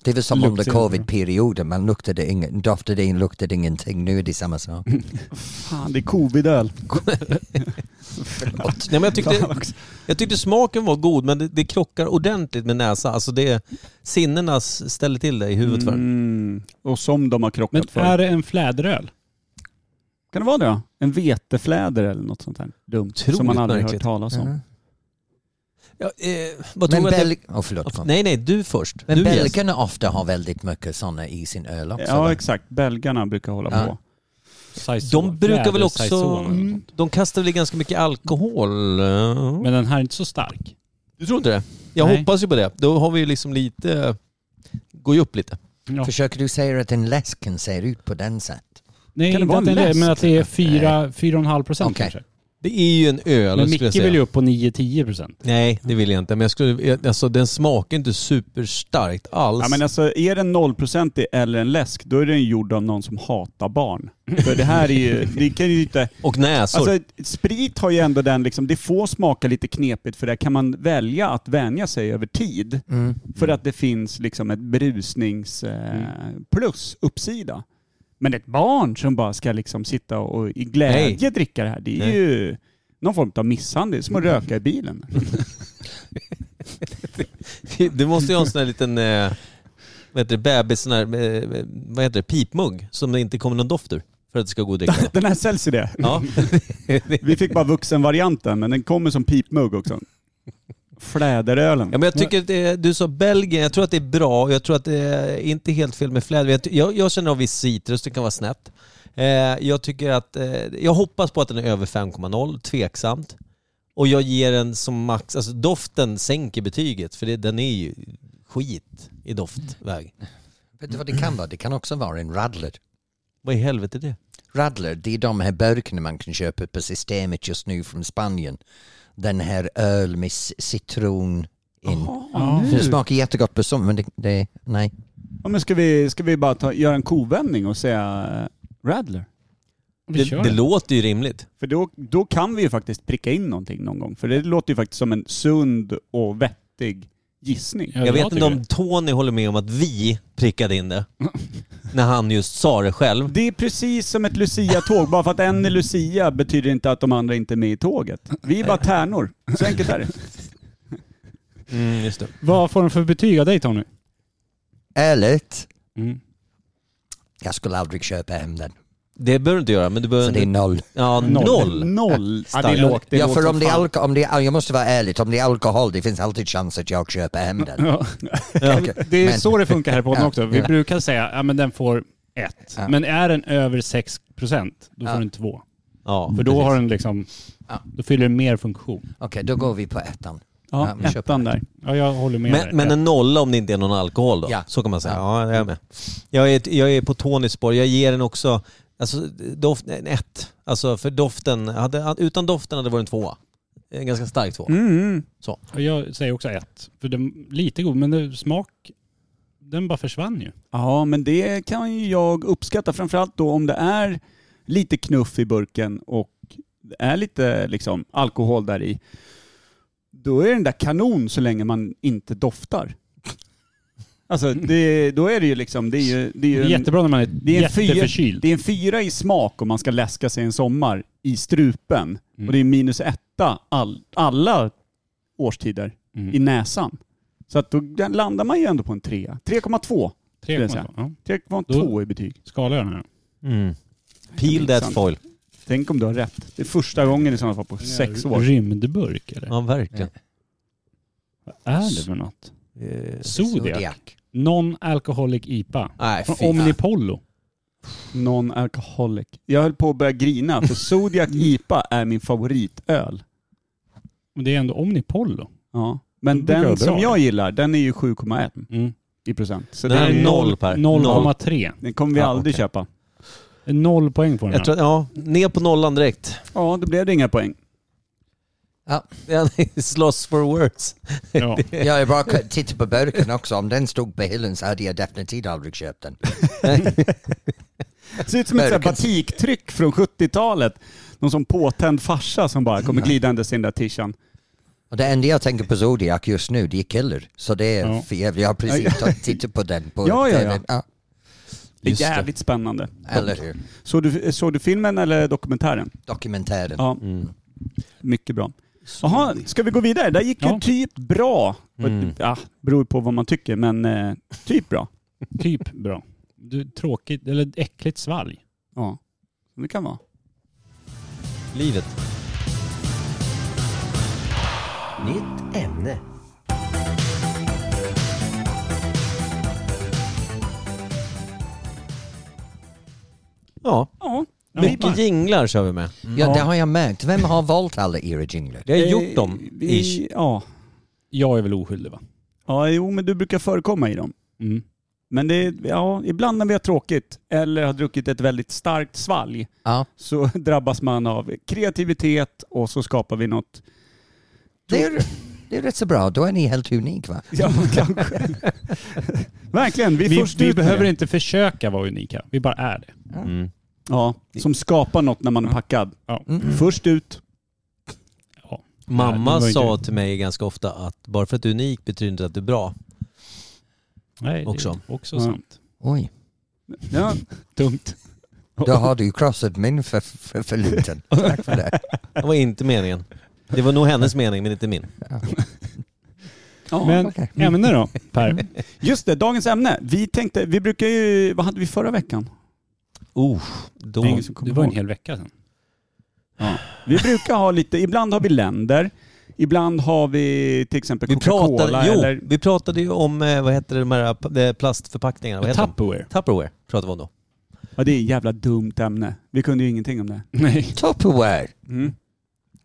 S8: Det var som under
S1: Luktsinne.
S8: covid-perioden, man luktade ingen, doftade in, luktade ingenting. Nu är det samma sak.
S2: Fan, det är covidöl.
S3: Nej, men jag, tyckte, jag tyckte smaken var god men det, det krockar ordentligt med näsa. Alltså det, sinnena s- ställer till det i huvudet för en.
S2: Mm. Och som de har krockat
S1: Men
S2: för.
S1: är det en fläderöl?
S2: Kan det vara det då? En vetefläder eller något sånt här dumt. som man
S3: Otroligt
S2: aldrig hört
S3: märkligt. Mm.
S2: talas om.
S3: ja, eh, vad
S8: Men
S3: tror du att Alltså, jag...
S8: Belg... Oh, förlåt. kom.
S3: Nej, nej, du först.
S8: Men
S3: du Jess.
S8: belgarna ofta har väldigt mycket sådana i sin öl också.
S2: Ja,
S8: va?
S2: exakt. Belgarna brukar hålla
S8: Ja.
S2: på.
S1: Saison.
S3: De brukar väl
S1: Fläder,
S3: också...
S1: saison eller något
S8: Mm.
S1: sånt.
S3: De kastar väl i ganska mycket alkohol? eh?
S1: Mm. Men den här är inte så stark.
S3: Du tror inte det? Jag
S1: Nej.
S3: hoppas ju på det. Då har vi ju liksom lite... Går ju upp lite.
S1: Ja.
S8: Försöker du säga att en läsk kan se ut på den sätt?
S1: Nej,
S2: Kan det
S1: inte
S2: vara
S1: att den
S2: en
S1: är,
S2: läsk?
S1: men att det är 4, 4,5 procent
S8: Okej.
S1: kanske.
S3: Det är ju en öl
S1: Men
S3: skulle jag
S1: Micke
S3: säga.
S1: vill ju upp på 9-10 procent.
S3: Nej, det vill jag inte. Men jag skulle... jag- Alltså den smakar inte superstarkt alls.
S2: Ja, men alltså, är den nollprocentig eller en läsk, då är den gjord av någon som hatar barn. För det här är ju... Det kan ju inte...
S3: Och näsor.
S2: Alltså, sprit har ju ändå den liksom, det får smaka lite knepigt för där kan man välja att vänja sig över tid.
S3: Mm.
S2: För att det finns liksom ett berusnings eh,
S3: Mm.
S2: plus, uppsida. Men ett barn som bara ska liksom sitta och i glädje dricka det här, det är
S3: Nej.
S2: ju någon form av misshandel. Det är som att röka i bilen.
S3: Du måste ju ha en sån här liten... Eh, vad heter det, bebis, sån här, eh, vad heter det, pipmugg som det inte kommer någon doft ur för att det ska gå att dricka.
S2: Den här säljs i det.
S3: Ja.
S2: Vi fick bara vuxenvarianten, men den kommer som pipmugg också. Fläderölen.
S3: Ja, men jag tycker att det, du sa Belgien, jag tror att det är bra och jag tror att det är inte helt fel med fläder. Jag, ty- jag, jag känner av viss citrus, det kan vara snett. Eh, jag tycker att, eh, jag hoppas på att den är över 5,0, tveksamt. Och jag ger den som max, alltså doften sänker betyget för det, den är ju skit i doftväg.
S8: Vet du vad det kan vara? Det kan också vara en radler.
S3: Vad i helvete är det?
S8: Radler, det är de här burkarna man kan köpa på systemet just nu från Spanien. Den här öl med c- citron in.
S2: Ja.
S8: Det smakar jättegott på sommaren, men det, det, nej.
S2: Ja, men ska, vi, ska vi bara ta, göra en kovändning och säga eh, Radler?
S1: Vi
S3: Det,
S1: kör.
S3: det låter ju rimligt.
S2: För då, då kan vi ju faktiskt pricka in någonting någon gång. För det låter ju faktiskt som en sund och vettig gissning.
S1: Ja,
S3: Jag,
S1: jag
S3: vet inte
S1: tycker
S3: om Tony håller med om att vi prickade in det. när han just sa det själv.
S2: Det är precis som ett Lucia-tåg. Bara för att en är Lucia betyder inte att de andra inte är med i tåget. Vi är bara tärnor. Så enkelt är det.
S3: Mm, just det.
S1: Vad får den för betyg av dig Tony?
S8: Ärligt,
S1: Mm.
S8: jag skulle aldrig köpa hem den.
S3: Det behöver du inte göra, men du behöver...
S8: Så det är noll.
S3: Ja, noll.
S2: Noll. Ja, det är
S3: Starkt.
S2: lågt. Det är
S8: ja,
S2: lågt
S8: för
S2: som
S8: om det, är
S2: fan.
S8: alko- om det är, jag måste vara ärlig, om det är alkohol det finns alltid chans att jag köper hem den.
S1: Ja. Det är
S8: Men-
S1: så det funkar här på podden
S8: Ja.
S1: också. Vi
S8: Ja.
S1: brukar säga att ja, men den får ett.
S8: Ja.
S1: Men är den över 6 procent, då får
S8: Ja.
S1: den två.
S3: Ja,
S1: För då har den liksom,
S8: Ja.
S1: då fyller den mer funktion.
S8: Okej, då går vi på ettan. Ja, vi
S2: Ja,
S8: köper
S2: ettan
S8: det.
S2: där.
S1: Ja, jag håller med dig.
S3: men, men en nolla om det inte är någon alkohol då?
S8: Ja.
S3: Så kan man säga.
S8: Ja.
S3: Ja, jag är med. Jag är, jag är på Tonys spår. Jag ger den också alltså, doft, en ett. Alltså för doften, hade, utan doften hade det varit en tvåa. En ganska stark tvåa.
S2: Mm, mm.
S1: Och jag säger också ett. För den lite god, men det, smak, den bara försvann ju.
S2: Ja, men det kan ju jag uppskatta. Framförallt då om det är lite knuff i burken och det är lite liksom, alkohol där i. Då är den där kanon så länge man inte doftar. Alltså, det, då är det ju liksom... Det är ju, det är
S1: Det
S2: ju
S1: är
S2: en,
S1: jättebra när man är,
S2: det är en fyra-
S1: jätteförkyld.
S2: det är en fyra i smak om man ska läska sig en sommar i strupen.
S1: Mm.
S2: Och det är minus etta all, alla årstider i
S1: Mm.
S2: näsan. Så att då landar man ju ändå på en trea. 3,2.
S1: Tre
S2: det är
S1: komma
S2: så.
S1: två. ja.
S2: 3,2 i betyg.
S1: Skala jag den här.
S3: Mm. Peel that
S2: Intressant.
S3: foil.
S2: Tänk om du har rätt. Det är första gången i sådana fall på sex år.
S1: Rymdburk eller?
S3: Ja, verkligen.
S1: Vad är det för något?
S3: Eh,
S1: Zodiac. Non-alcoholic IPA.
S3: Nej,
S1: Från
S3: fy.
S1: Omnipollo.
S2: Non-alcoholic. Jag höll på att börja grina för Zodiac IPA är min favoritöl.
S1: Men det är ändå Omnipollo.
S2: Ja. Men
S1: Det brukar vara
S2: den
S1: bra.
S2: som jag gillar, den är ju 7,1
S1: Mm.
S2: i procent. Så
S3: Den
S2: den,
S3: är noll per.
S1: 0,3.
S2: den kommer vi
S3: Ja,
S2: aldrig
S3: okej.
S2: köpa.
S1: Noll poäng på den
S3: Jag
S1: här.
S3: tror, ja, ner på nollan direkt.
S2: Ja, då blev det inga poäng.
S3: Ja, Slåss for words.
S1: Ja.
S8: Jag är bara titta på burken också. Om den stod på hyllan så hade jag definitivt aldrig köpt den.
S2: Det ser ut som ett sånt här
S8: Verkligen.
S2: batiktryck från 70-talet. Någon sån påtänd farsa som bara kommer glidandes i den där tishan.
S8: Och det enda jag tänker på Zodiac just nu, det är killer. Så det är
S1: Ja.
S8: för jävligt. Jag har precis t- tittat på den. På
S2: Ja, ja, ja.
S8: TV.
S2: Det är
S3: Just det.
S2: jävligt spännande.
S8: Eller hur?
S2: Såg du, såg du filmen eller dokumentären?
S8: Dokumentären.
S2: Ja,
S3: Mm.
S2: mycket bra. Jaha, ska vi gå vidare? Där gick ju
S1: Ja.
S2: typ bra.
S3: Mm.
S2: Ja, beror på vad man tycker, men eh, typ bra.
S1: Typ bra. Du, tråkigt, eller äckligt svalg.
S2: Ja, det kan vara.
S3: Livet.
S7: Nytt ämne.
S3: Ja,
S2: Ja,
S3: mycket jinglar kör vi med.
S8: Ja, det har jag märkt. Vem har valt alla era jinglar?
S3: Jag har gjort dem,
S2: Eh, Vi,
S3: ish.
S2: ja.
S1: Jag är väl oskyldig va?
S2: ja, jo men du brukar förekomma i dem.
S1: Mm.
S2: Men det är, ja, ibland när vi har tråkigt eller har druckit ett väldigt starkt svalg
S8: Ja.
S2: så drabbas man av kreativitet och så skapar vi något.
S8: Det är, det är rätt så bra. Då är ni helt unik va?
S2: Ja, kanske. Verkligen, vi är
S1: Vi,
S2: först
S1: vi
S2: ut med
S1: behöver
S2: det.
S1: inte försöka vara unika, vi bara är det.
S3: Mm.
S2: Ja, som skapar något när man är packad.
S1: Ja.
S8: Mm.
S2: Mm. Först ut.
S1: Nej, det
S3: Mamma
S1: var inte
S3: sa
S1: det.
S3: till mig ganska ofta att bara för att du är unik betyder inte att du är bra.
S1: Nej, det är
S3: Också.
S1: också
S2: Ja.
S1: sant.
S8: Oj,
S2: Ja,
S1: Tungt.
S8: då har du krossat min för, för, för liten. Tack för det.
S3: Det var inte meningen. Det var nog hennes mening men inte min.
S2: Ja.
S1: Men
S8: okej.
S1: ämne då, Per?
S2: Just det, dagens ämne. Vi tänkte, vi brukar ju, vad hade vi förra veckan?
S3: Oh, då.
S2: Det är ingen som
S1: Det
S2: kommer
S1: var en
S2: ihåg.
S1: hel vecka sedan.
S2: Ja. Vi brukar ha lite, ibland har vi länder, ibland har vi till exempel
S3: Vi
S2: Coca-Cola
S3: pratade, jo,
S2: eller...
S3: vi pratade ju om, eh, vad heter det, de här p- eh, plastförpackningarna? Vad heter de?
S1: Tupperware.
S3: Tupperware pratade vi om då.
S2: Ja, det är ett jävla dumt ämne. Vi kunde ju ingenting om det.
S1: Nej.
S8: Tupperware.
S2: Mm.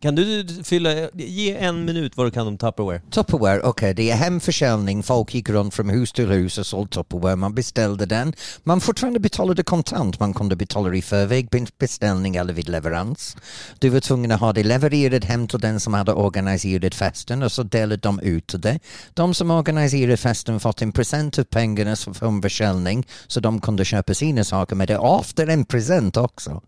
S3: Kan du fylla, ge en minut vad du kan om Tupperware.
S8: Tupperware, okej det är hemförsäljning. Folk gick runt från hus till hus och sålde Tupperware. Man beställde den. Man fortfarande betalade kontant. Man kunde betala i förväg vid beställning eller vid leverans. Du var tvungen att ha det levererat hem till den som hade organiserat festen och så delade de ut det. De som organiserade festen fått en present av pengarna som- från försäljning så de kunde köpa sina saker med det. Ofta en present också.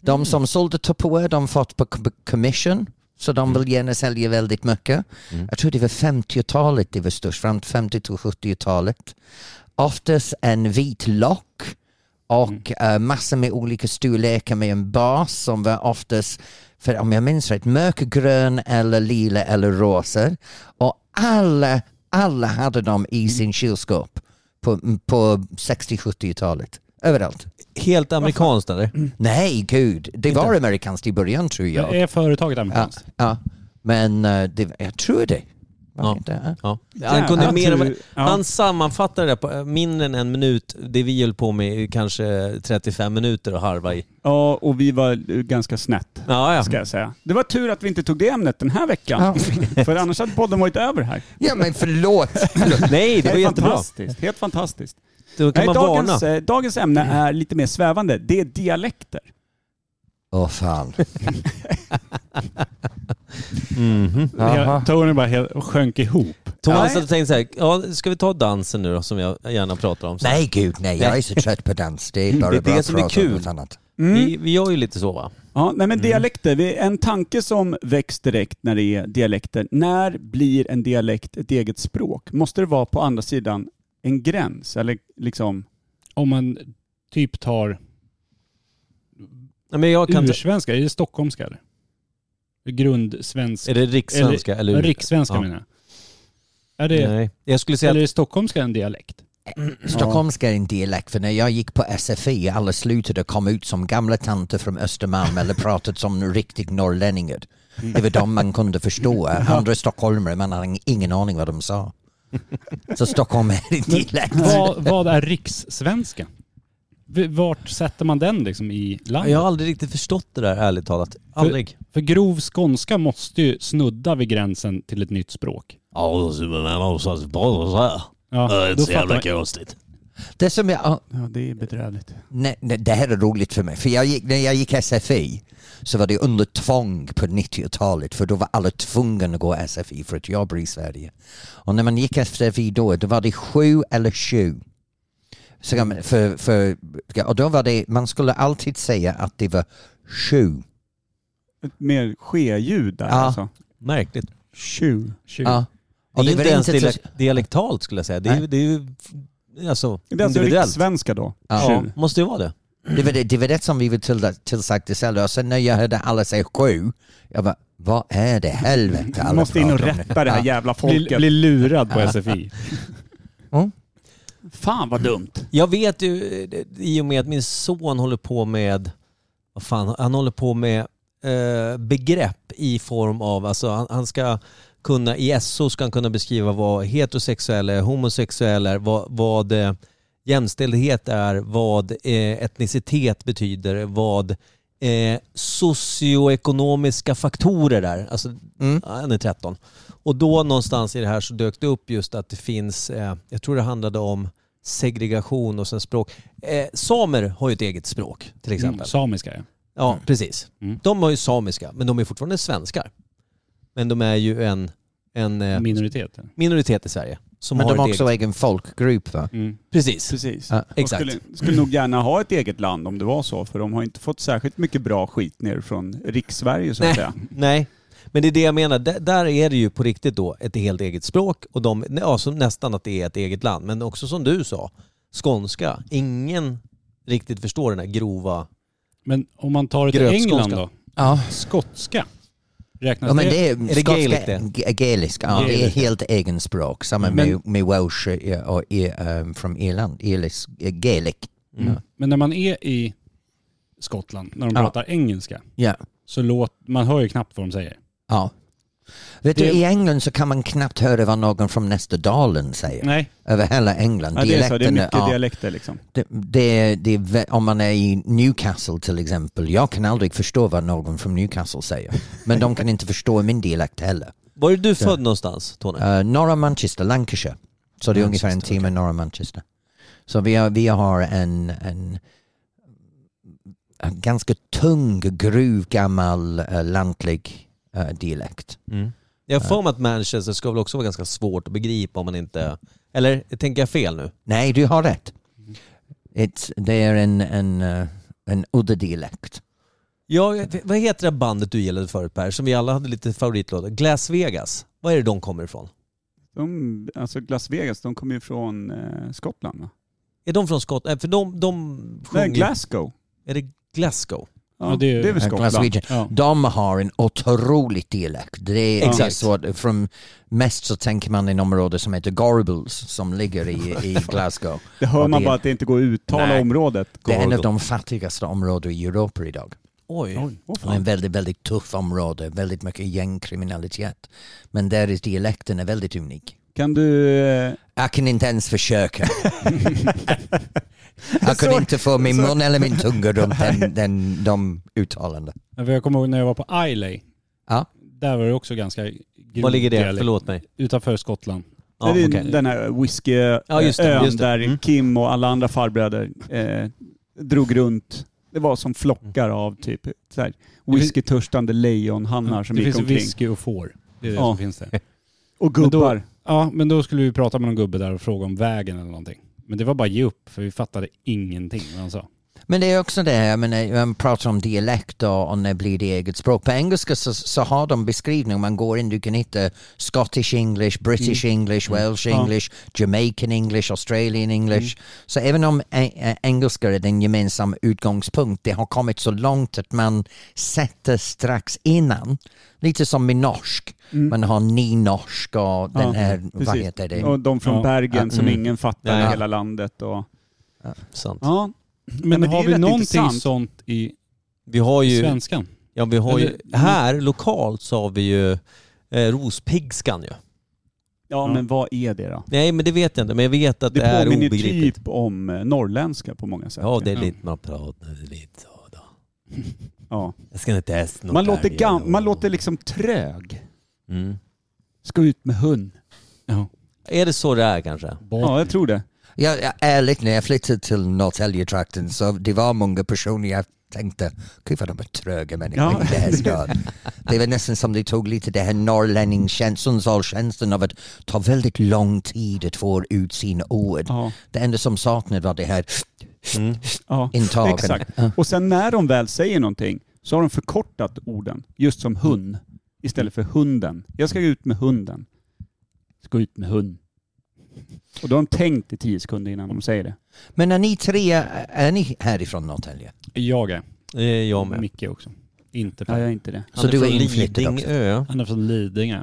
S8: De som sålde Tupperware de fått på co- commission så de vill gärna sälja väldigt mycket. Jag tror det var 50-talet det var störst, från 50 till 70-talet. Oftast en vit lock och eh, massor med olika storlekar med en bas som var oftast, för om jag minns rätt, mörkgrön eller lila eller rosa. Och alla, alla hade dem i sin kylskåp på, på 60-70-talet. Överallt.
S3: Helt amerikanskt eller?
S2: Mm.
S8: Nej, gud. Det var amerikanskt i början tror jag.
S3: Eh,
S1: Är företaget
S8: Ja,
S1: amerikanskt?
S8: ja. Men eh, det, jag tror det.
S3: Ja.
S8: Var det inte?
S3: Ja. Han, kunde
S2: Jävlar,
S3: mer, än-
S2: tur. Ja.
S3: han sammanfattade det på eh, mindre än en minut, det vi höll på med i kanske 35 minuter och harva i.
S2: Ja, och vi var eh, ganska snett.
S3: Ja, ja.
S2: Ska jag säga. Det var tur att vi inte tog det ämnet den här veckan. För annars hade podden varit över här.
S8: Ja, men förlåt.
S3: Nej, det var jättebra.
S2: fantastiskt. Helt fantastiskt.
S3: Då kan
S2: Nej,
S3: man
S2: dagens,
S3: varna.
S2: eh, dagens ämne är lite mer svävande. Det är dialekter.
S8: Åh fan.
S3: Mhm.
S1: Ja. Tony bara helt, sjönk ihop.
S3: Thomas
S2: Nej.
S3: hade tänkt så här, ja, ska vi ta dansen nu då som jag gärna pratar om? Så
S8: Nej gud nej, jag är så trött på dans. Det är bara
S3: Det är det
S8: bra att
S3: som är
S8: prata om
S3: kul.
S8: något annat.
S2: Mm.
S3: Vi, vi gör ju lite så va?
S2: Ja, nej men dialekter. Vi- En tanke som väcks direkt när det är dialekter. När blir en dialekt ett eget språk? Måste det vara på andra sidan en gräns? Eller liksom...
S1: Om man typ tar
S3: Nej, men jag kan ta-
S1: ursvenska, är det stockholmska eller? Grundsvenska?
S3: Är det rikssvenska eller?
S1: Eller, rikssvenska
S3: Ja.
S1: menar jag. Är det,
S3: Nej. Jag skulle säga
S1: eller
S3: att
S1: är stockholmska en dialekt?
S8: Stockholmska är en dialekt för när jag gick på SFI alla slutade kom ut som gamla tanter från Östermalm eller pratade som riktigt norrlänningar. Det var de man kunde förstå. Andra stockholmare, man hade ingen aning vad de sa. Så Stockholm är en dialekt.
S1: Vad, vad är rikssvenska? V- Vart sätter man den liksom i landet?
S3: jag har aldrig riktigt förstått det där ärligt talat. Aldrig.
S1: För grov skånska måste ju snudda vid gränsen till ett nytt språk. Ja, då fattar man-
S3: konstigt.
S8: Det som jag,
S2: Ja, det är bedrövligt.
S8: Nej, nej, det här är roligt för mig. För jag gick, när jag gick SFI så var det under tvång på 90-talet för då var alla tvungna att gå SFI för att jag bor i Sverige. Och när man gick SFI då, då var det sju eller sju. Så kan man- för, för, och då var det, man skulle alltid säga att det var sju.
S2: Ett mer skeljud där
S8: Ja.
S2: alltså.
S3: Märkligt.
S2: Tju.
S1: Tju.
S8: Ja.
S3: Det är
S8: Och det
S3: inte
S8: var
S3: ens
S8: inte
S3: dialek- dialektalt skulle jag säga. Det är, ju- det är ju f- alltså,
S2: Det är alltså
S3: individuellt.
S2: rikssvenska då.
S3: Ja,
S2: Tju.
S3: måste ju vara det.
S8: Det var det, det, var det som vi var till, tillsagda själva. Och sen när jag hörde alla säga sju, jag bara, vad är det helvete alla
S2: Man måste in och
S8: pratar om nu?"
S2: rätta det här
S8: Ja.
S2: jävla
S1: Bli,
S2: folket.
S1: bli lurad på SFI.
S2: Fan vad dumt.
S3: Jag vet ju eh, i och med att min son håller på med, vad fan, han håller på med eh, begrepp i form av, alltså han, han ska kunna, i SO ska han kunna beskriva vad heterosexuell är, homosexuell är, vad, vad eh, jämställdhet är, vad eh, etnicitet betyder, vad eh, socioekonomiska faktorer är. Alltså, ja, han är 13. Och då någonstans i det här så dök det upp just att det finns, eh, jag tror det handlade om segregation och sen språk. Eh, samer har ju ett eget språk till exempel.
S1: Mm, samiska ja.
S3: Ja, precis.
S1: Mm.
S3: De har ju samiska, men de är fortfarande svenskar. Men de är ju en, en eh,
S1: Minoritet.
S3: minoritet i Sverige. Som
S8: Men
S3: har
S8: de har
S3: ett
S8: också
S3: eget...
S8: egen folkgrupp va?
S1: Mm.
S3: Precis.
S2: Precis.
S8: Ja,
S2: De
S3: exakt.
S2: Skulle, skulle nog gärna ha ett eget land om det var så, för de har inte fått särskilt mycket bra skit ner från rikssverige så att
S3: Nej.
S2: säga.
S3: Nej, men det är det jag menar. Där- där är det ju på riktigt då ett helt eget språk och de, ja, som nästan att det är ett eget land. Men också som du sa, skånska. Ingen riktigt förstår den här grova...
S1: Men om man tar det till
S3: Grövskånska.
S1: England då?
S8: Ja.
S1: Skotska. Räknas
S8: Ja, men
S1: Alltså, det?
S8: det är,
S3: Är det gaelic det?
S8: G- Gaelic, ja. Det är
S1: Gaelic.
S8: helt egen språk. Samma med, med welsh eh, och eh, um, från Irland. Irlis, eh, Gaelic. Ja.
S1: Mm. Men när man är i Skottland, när de
S8: Ja.
S1: pratar engelska,
S8: Ja.
S1: så låt, man hör ju knappt vad de säger.
S8: ja. Vet du,
S1: Det-
S8: i England så kan man knappt höra vad någon från Nästerdalen säger.
S1: Nej.
S8: Över hela England.
S2: Ja, det är så. Det är mycket
S8: ja.
S2: dialekter liksom.
S8: Det, det, det, är vä- om man är i Newcastle till exempel, jag kan aldrig förstå vad någon från Newcastle säger. Men de kan inte förstå min dialekt heller.
S3: Var är du född någonstans, Tony?
S8: Eh, norra Manchester, Lancashire. Så det är ungefär en
S3: Manchester,
S8: timme norra Manchester. Så vi har, vi har en, en, en ganska tung, gruv, gammal, eh, lantlig eh, dialekt.
S3: Mm. Jag har för mig att Manchester ska väl också vara ganska svårt att begripa om man inte... Eller tänker jag fel nu?
S8: Nej, du har rätt.
S3: Mm.
S8: It's, det är en, en, eh, en udda dialekt.
S3: Ja, jag- vad heter det bandet du gillade förut Per, som vi alla hade lite favoritlåtar? Glass Vegas. Var är det de kommer ifrån?
S2: De, alltså Las Vegas, de kommer ju från eh, Skottland va?
S3: Är de från Skottland? För de, de
S2: Nej,
S3: sjunger...
S2: Glasgow.
S3: Är det Glasgow?
S2: Ja,
S1: Ja, det
S2: det,
S1: är ju-
S2: är väl
S8: Eh,
S2: Skottland.
S8: Glaswegian.
S1: Ja.
S8: De har en otroligt dialekt. Det är
S3: Exakt.
S8: Exakt. Så att från mest så tänker man en område som heter Gorbals som ligger i, i Glasgow.
S2: Det hör
S8: Och
S2: man
S8: det-
S2: bara att det inte går att uttala
S8: Nej.
S2: området.
S8: Det är en av
S3: Gorgo.
S8: de fattigaste områdena i Europa idag.
S2: Oj,
S3: Oj.
S2: åh
S8: Och en
S2: fan.
S8: väldigt, väldigt tuff område, väldigt mycket gängkriminalitet. Men där är dialekten är väldigt unik.
S2: Kan du... Eh,
S8: Jag kan inte ens försöka. Jag kunde inte få min mun eller min tunga runt den, den, de uttalanden.
S1: Ja, för Jag kommer ihåg när jag var på Islay.
S8: Ja.
S1: Där var det också ganska grov
S3: Var ligger det?
S1: dialekt.
S3: Förlåt mig.
S1: Utanför Skottland.
S3: Ja,
S2: det är
S3: okej.
S2: Den här whisky eh,
S3: Ja, just det,
S2: ön
S3: just det.
S2: där
S3: Mm.
S2: Kim och alla andra farbröder eh, drog runt. Det var som flockar
S8: Mm.
S2: av typ så här, whiskytörstande lejonhannar Mm. som
S1: det
S2: gick
S1: finns
S2: omkring.
S1: whisky och får. Det är det
S2: Ja.
S1: som finns där.
S2: Och
S1: Men då-
S2: gubbar.
S1: Ja, men då skulle vi prata med någon gubbe där och fråga om vägen eller någonting. Men det var bara ge upp, för vi fattade ingenting vad han sa.
S8: Men det är också det, jag menar, man pratar om dialekt och, och när blir det eget språk. På engelska så, så har de beskrivning, man går in, du kan hitta Scottish English, British English, Welsh
S2: Mm. Ja. Mm.
S8: English, Jamaican English, Australian English. Så även om ä, ä, engelska är den gemensamma utgångspunkt, det har kommit så långt att man sätter strax innan, lite som med norsk, man har nynorsk och den
S2: Mm. Ja,
S8: här, vad
S2: precis.
S8: heter det?
S2: Och de från
S1: Ja.
S2: Bergen
S8: Ja.
S2: som
S8: Mm.
S2: ingen fattar i
S3: Ja.
S2: hela landet. Och,
S3: Sant.
S2: ja,
S1: Men,
S2: men det är
S1: har
S2: ju
S1: vi
S2: rätt
S1: någonting
S2: intressant.
S1: sånt i
S3: Vi har ju...
S1: svenskan?
S3: Ja, vi har ju
S1: Eller-
S3: här lokalt så har vi ju eh, rospigskan ju.
S2: ja, men vad är det då?
S3: Nej, men det vet jag inte. Men jag vet att
S2: Det,
S3: det, är
S2: påminner
S3: obegripligt.
S2: typ om eh, norrländska på många sätt.
S3: Ja, det är
S1: Ja.
S3: lite... Man pratar lite så då.
S2: Ja.
S3: Jag ska inte äta något
S2: Man, låter
S3: här
S2: gam-
S3: igen.
S2: man låter liksom trög.
S3: Mm.
S2: Ska ut med hund.
S3: Är det så det är kanske?
S2: Ja, jag tror det.
S8: Ja, ja, ärligt, när jag flyttade till Norrtäljetrakten så det var många personer jag tänkte, gud vad de är tröga människor
S2: Ja.
S8: i den här staden. det var nästan som de tog lite det här norrlänningskänslan, Sundsvallskänslan av att ta väldigt lång tid att få ut sina ord.
S2: Ja.
S8: Det enda som saknades var det här
S2: Ja.
S8: intagen.
S2: Exakt.
S8: Ja.
S2: Och sen när de väl säger någonting så har de förkortat orden, just som hund, istället för hunden. Jag ska ut med hunden. Ska ut med hund. Och då har de tänkt i tio sekunder innan de säger det.
S8: Men är ni tre, är ni härifrån Norrtälje?
S1: Jag är.
S3: Eh, Jag med.
S1: Micke också. Inte
S2: Nej,
S1: Per.
S2: jag är inte det.
S8: Så du är
S3: från
S8: inflyttad också?
S3: Lidingö.
S1: Han är från Lidingö.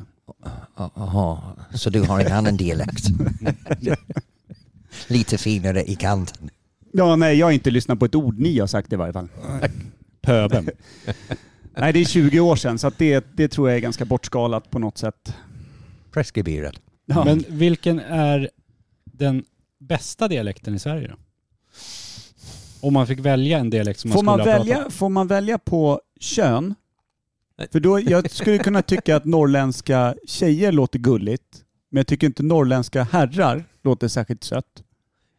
S8: Aha, så du har en annan dialekt? lite finare i kanten.
S2: Ja, nej, jag har inte lyssnat på ett ord ni har sagt i varje fall.
S1: Pöben.
S2: Nej, det är 20 år sedan, så att det, det tror jag är ganska bortskalat på något sätt.
S8: Preskriberad.
S2: Ja.
S1: Men vilken är den bästa dialekten i Sverige då? Om man fick välja en dialekt som man
S2: får,
S1: skulle
S2: man
S1: ha pratat.
S2: välja, får man välja på kön? För då, jag skulle kunna tycka att norrländska tjejer låter gulligt, men jag tycker inte norrländska herrar låter särskilt sött.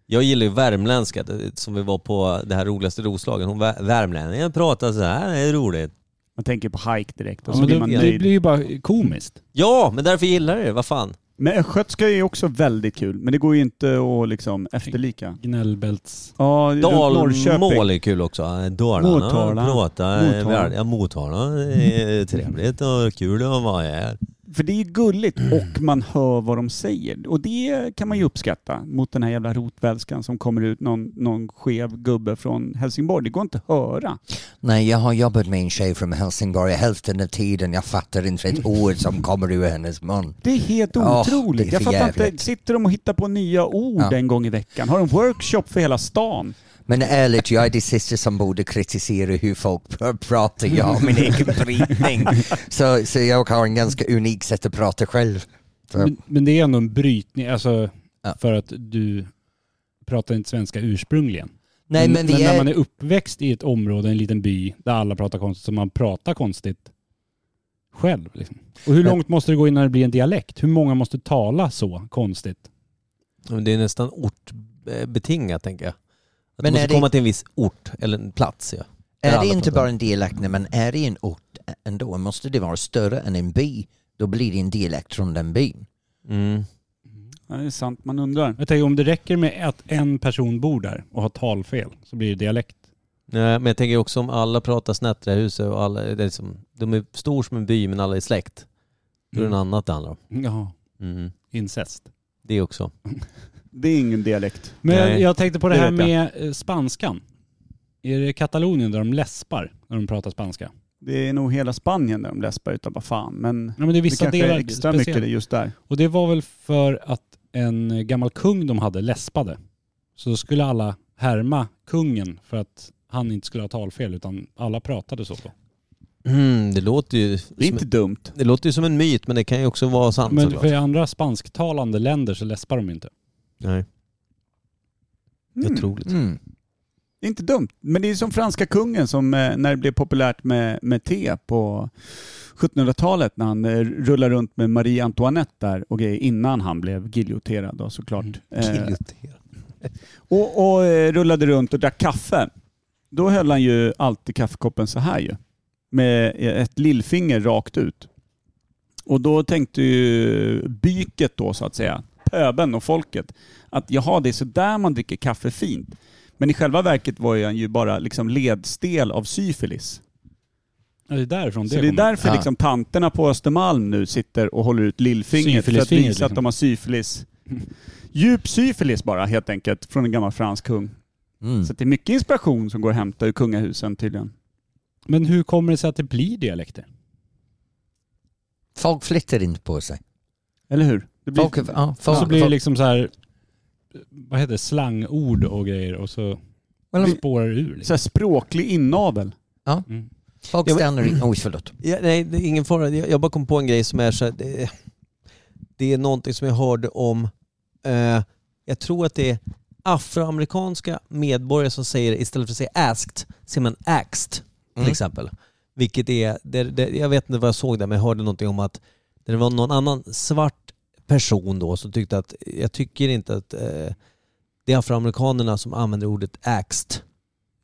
S3: Jag gillar ju värmländska, det- som vi var på det här roligaste Roslagen. Hon var värmlänningen pratar så här, det är roligt.
S2: Man tänker på hike direkt och
S1: Ja,
S2: så
S1: men
S2: blir man
S1: det, det
S2: nöjd.
S1: blir ju bara komiskt.
S3: Ja, men därför gillar jag det, vad fan.
S2: Men östgötska är också väldigt kul, men det går ju inte att liksom efterlika.
S1: Gnällbälts...
S2: Ja, runt
S3: Dalmål
S2: Norrköping.
S3: är kul också. Dalarna
S2: Motala.
S3: pratar eh,
S2: Motala.
S3: väl. Ja, Motala är trevligt och kul att vara här.
S2: För det är ju gulligt
S8: Mm.
S2: och man hör vad de säger. Och det kan man ju uppskatta mot den här jävla rotvälskan som kommer ut någon, någon skev gubbe från Helsingborg. Det går inte att höra.
S8: Nej, jag har jobbat med en tjej från Helsingborg hälften av tiden. Jag fattar inte ett ord som kommer ur hennes mun.
S2: Det är helt
S8: Ja,
S2: otroligt.
S8: det är
S2: jag
S8: för
S2: fattar inte.
S8: jävligt.
S2: Sitter de och hittar på nya ord
S8: Ja.
S2: en gång i veckan? Har de workshop för hela stan?
S8: Men ärligt, jag är det sista som borde kritisera hur folk pr- pratar. Jag har min egen brytning. Så, så jag har en ganska unik sätt att prata själv. Så,
S1: Men, men det är ändå en brytning, alltså
S8: Ja.
S1: för att du pratar inte svenska ursprungligen.
S8: nej, men vi
S1: när
S8: är...
S1: man är uppväxt i ett område, en liten by, där alla pratar konstigt, så man pratar konstigt själv. Liksom. Och hur
S8: Men-
S1: långt måste det gå innan det blir en dialekt? Hur många måste tala så konstigt?
S3: Men det är nästan ortbetingat tänker jag. Att du
S8: Men
S3: måste
S8: är det-
S3: komma till en viss ort eller en plats. Ja. Där
S8: Är det
S3: alla
S8: inte
S3: pratar.
S8: bara en dialekt när man är i en ort ändå? Måste det vara större än en by? Då blir det en dialekt från den byn.
S3: Mm.
S2: Ja, det är sant, man undrar.
S1: Jag tänker om det räcker med att en person bor där och har talfel så blir det dialekt.
S3: Nej, men jag tänker också om alla pratar snett i det här huset och alla, det är liksom, de är stor som en by men alla är släkt. Då är det
S1: Mm.
S3: något annat det handlar om.
S1: Jaha,
S3: Mm.
S1: incest.
S3: Det också.
S2: Det är ingen dialekt.
S1: Men
S3: Nej,
S1: jag tänkte på det
S2: det
S1: här
S2: vet
S1: med eh, spanskan. Är det Katalonien där de läspar när de pratar spanska?
S2: Det är nog hela Spanien där de läspar utav vad fan. Men
S1: Ja, men det är
S2: det
S1: vissa
S2: kanske
S1: delar
S2: är extra
S1: speciellt.
S2: mycket just där.
S1: Och det var väl för att en gammal kung de hade läspade. Så då skulle alla härma kungen för att han inte skulle ha talfel utan alla pratade så. Då.
S3: Mm, det, låter ju som,
S2: Det är inte dumt.
S3: det låter ju som en myt men det kan ju också vara sant
S1: Men
S3: såklart.
S1: för i andra spansktalande länder så läspar de inte.
S3: Nej, det är
S2: Mm.
S3: otroligt.
S8: Mm.
S2: Det är inte dumt. Men det är som franska kungen som eh, när det blev populärt med, med te på 1700-talet när han eh, rullar runt med Marie Antoinette där och grejer innan han blev giljoterad då såklart. Eh,
S3: Kiljoterat.
S2: och och eh, rullade runt och drack kaffe. Då höll han ju alltid kaffekoppen så här ju. Med ett lillfinger rakt ut. Och då tänkte ju byket då så att säga, pöben och folket, att jaha det är så där man dricker kaffe fint. Men i själva verket var ju han ju bara liksom ledstel av syfilis.
S1: Ja, det är därifrån
S2: Så det är
S1: kommer.
S2: därför
S8: Ja.
S2: liksom tanterna på Östermalm nu sitter och håller ut lillfingret för att visa
S1: Syfilisfingret,
S2: att
S1: liksom. Mm.
S2: de har syfilis. Djup syfilis bara helt enkelt från en gammal fransk kung.
S8: Mm.
S2: Så att det är mycket inspiration som går att hämta ur kungahusen tydligen.
S1: Men hur kommer det sig att det blir dialekter?
S8: Folk flyttar inte på sig.
S2: Eller hur? Det blir...
S8: Folk, ja, folk,
S1: Så blir det
S8: folk,
S1: liksom så här, vad heter det, slangord och grejer och så spårar det ur.
S2: Så
S1: Liksom.
S2: här språklig inavel.
S1: Mm.
S8: folk
S3: Ja, men-
S8: stannar i... Oj, förlåt.
S3: Ja, nej, det är ingen fara. Jag jag bara kom på en grej som är så här, det, det är någonting som jag hörde om. Eh, jag tror att det är afroamerikanska medborgare som säger, istället för att säga asked, säger man axed till
S8: Mm.
S3: exempel. Vilket är, det, det, jag vet inte vad jag såg där, men jag hörde någonting om att det var någon annan svart person då som tyckte att, jag tycker inte att eh, det är afroamerikanerna som använder ordet axed.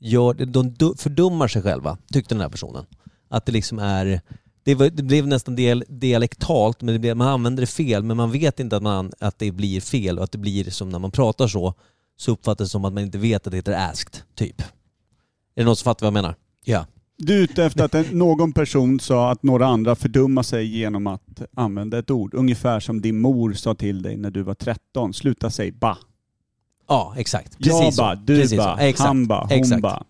S3: Gör, de du- fördummar sig själva, tyckte den här personen. Att det liksom är, det, var, det blev nästan del, dialektalt, men det blev, man använder det fel, men man vet inte att, man, att det blir fel och att det blir som när man pratar så, så uppfattas det som att man inte vet att det heter asked, typ. Är det någon som fattar vad jag menar?
S8: Ja.
S2: Du är ute efter att en, någon person sa att några andra fördummar sig genom att använda ett ord. Ungefär som din mor sa till dig när du var 13. Sluta säga ba.
S3: Ja, exakt.
S2: Jag
S3: Precis
S2: ba,
S3: så.
S2: du
S3: Precis så.
S2: ba,
S3: Exakt.
S2: han ba, hon
S3: Exakt.
S2: ba.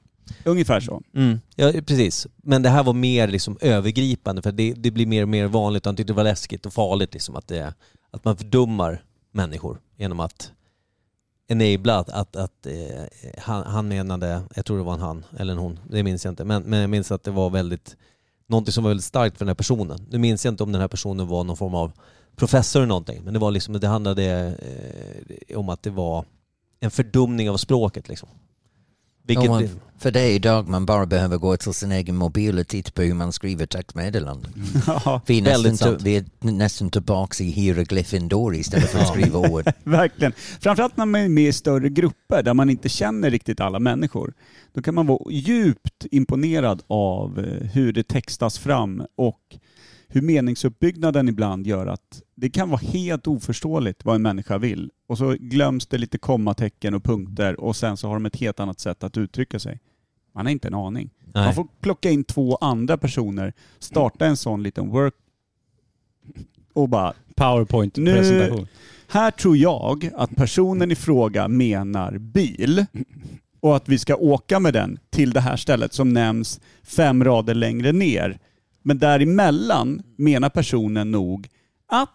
S2: Ungefär så.
S3: Mm. Ja, precis. Men det här var mer liksom övergripande för det, det blir mer och mer vanligt. Han tyckte det var läskigt och farligt liksom, att, det, att man fördummar människor genom att enabla att, att, att eh, han, han menade, jag tror det var en han eller en hon, det minns jag inte, men, men jag minns att det var väldigt någonting som var väldigt starkt för den här personen. Nu minns jag inte om den här personen var någon form av professor eller någonting, men det var liksom, det handlade eh, om att det var en fördumning av språket liksom. Vilket,
S8: Om man- För det är idag man bara behöver gå till sin egen mobil och titta på hur man skriver textmeddelanden.
S2: Ja,
S8: Vi är
S3: Väldigt
S8: nästan,
S3: sant.
S8: till, vi är nästan tillbaka i hieroglyfindor istället för att
S3: Ja.
S8: skriva ord.
S2: verkligen. Framförallt när man är med i större grupper där man inte känner riktigt alla människor. Då kan man vara djupt imponerad av eh, hur det textas fram och hur meningsuppbyggnaden ibland gör att det kan vara helt oförståeligt vad en människa vill. Och så glöms det lite kommatecken och punkter och sen så har de ett helt annat sätt att uttrycka sig. Man har inte en aning. Man
S3: nej.
S2: får plocka in två andra personer, starta en sån liten work... och bara
S1: Powerpoint-presentation.
S2: Här tror jag att personen i fråga menar bil och att vi ska åka med den till det här stället som nämns fem rader längre ner. Men däremellan menar personen nog att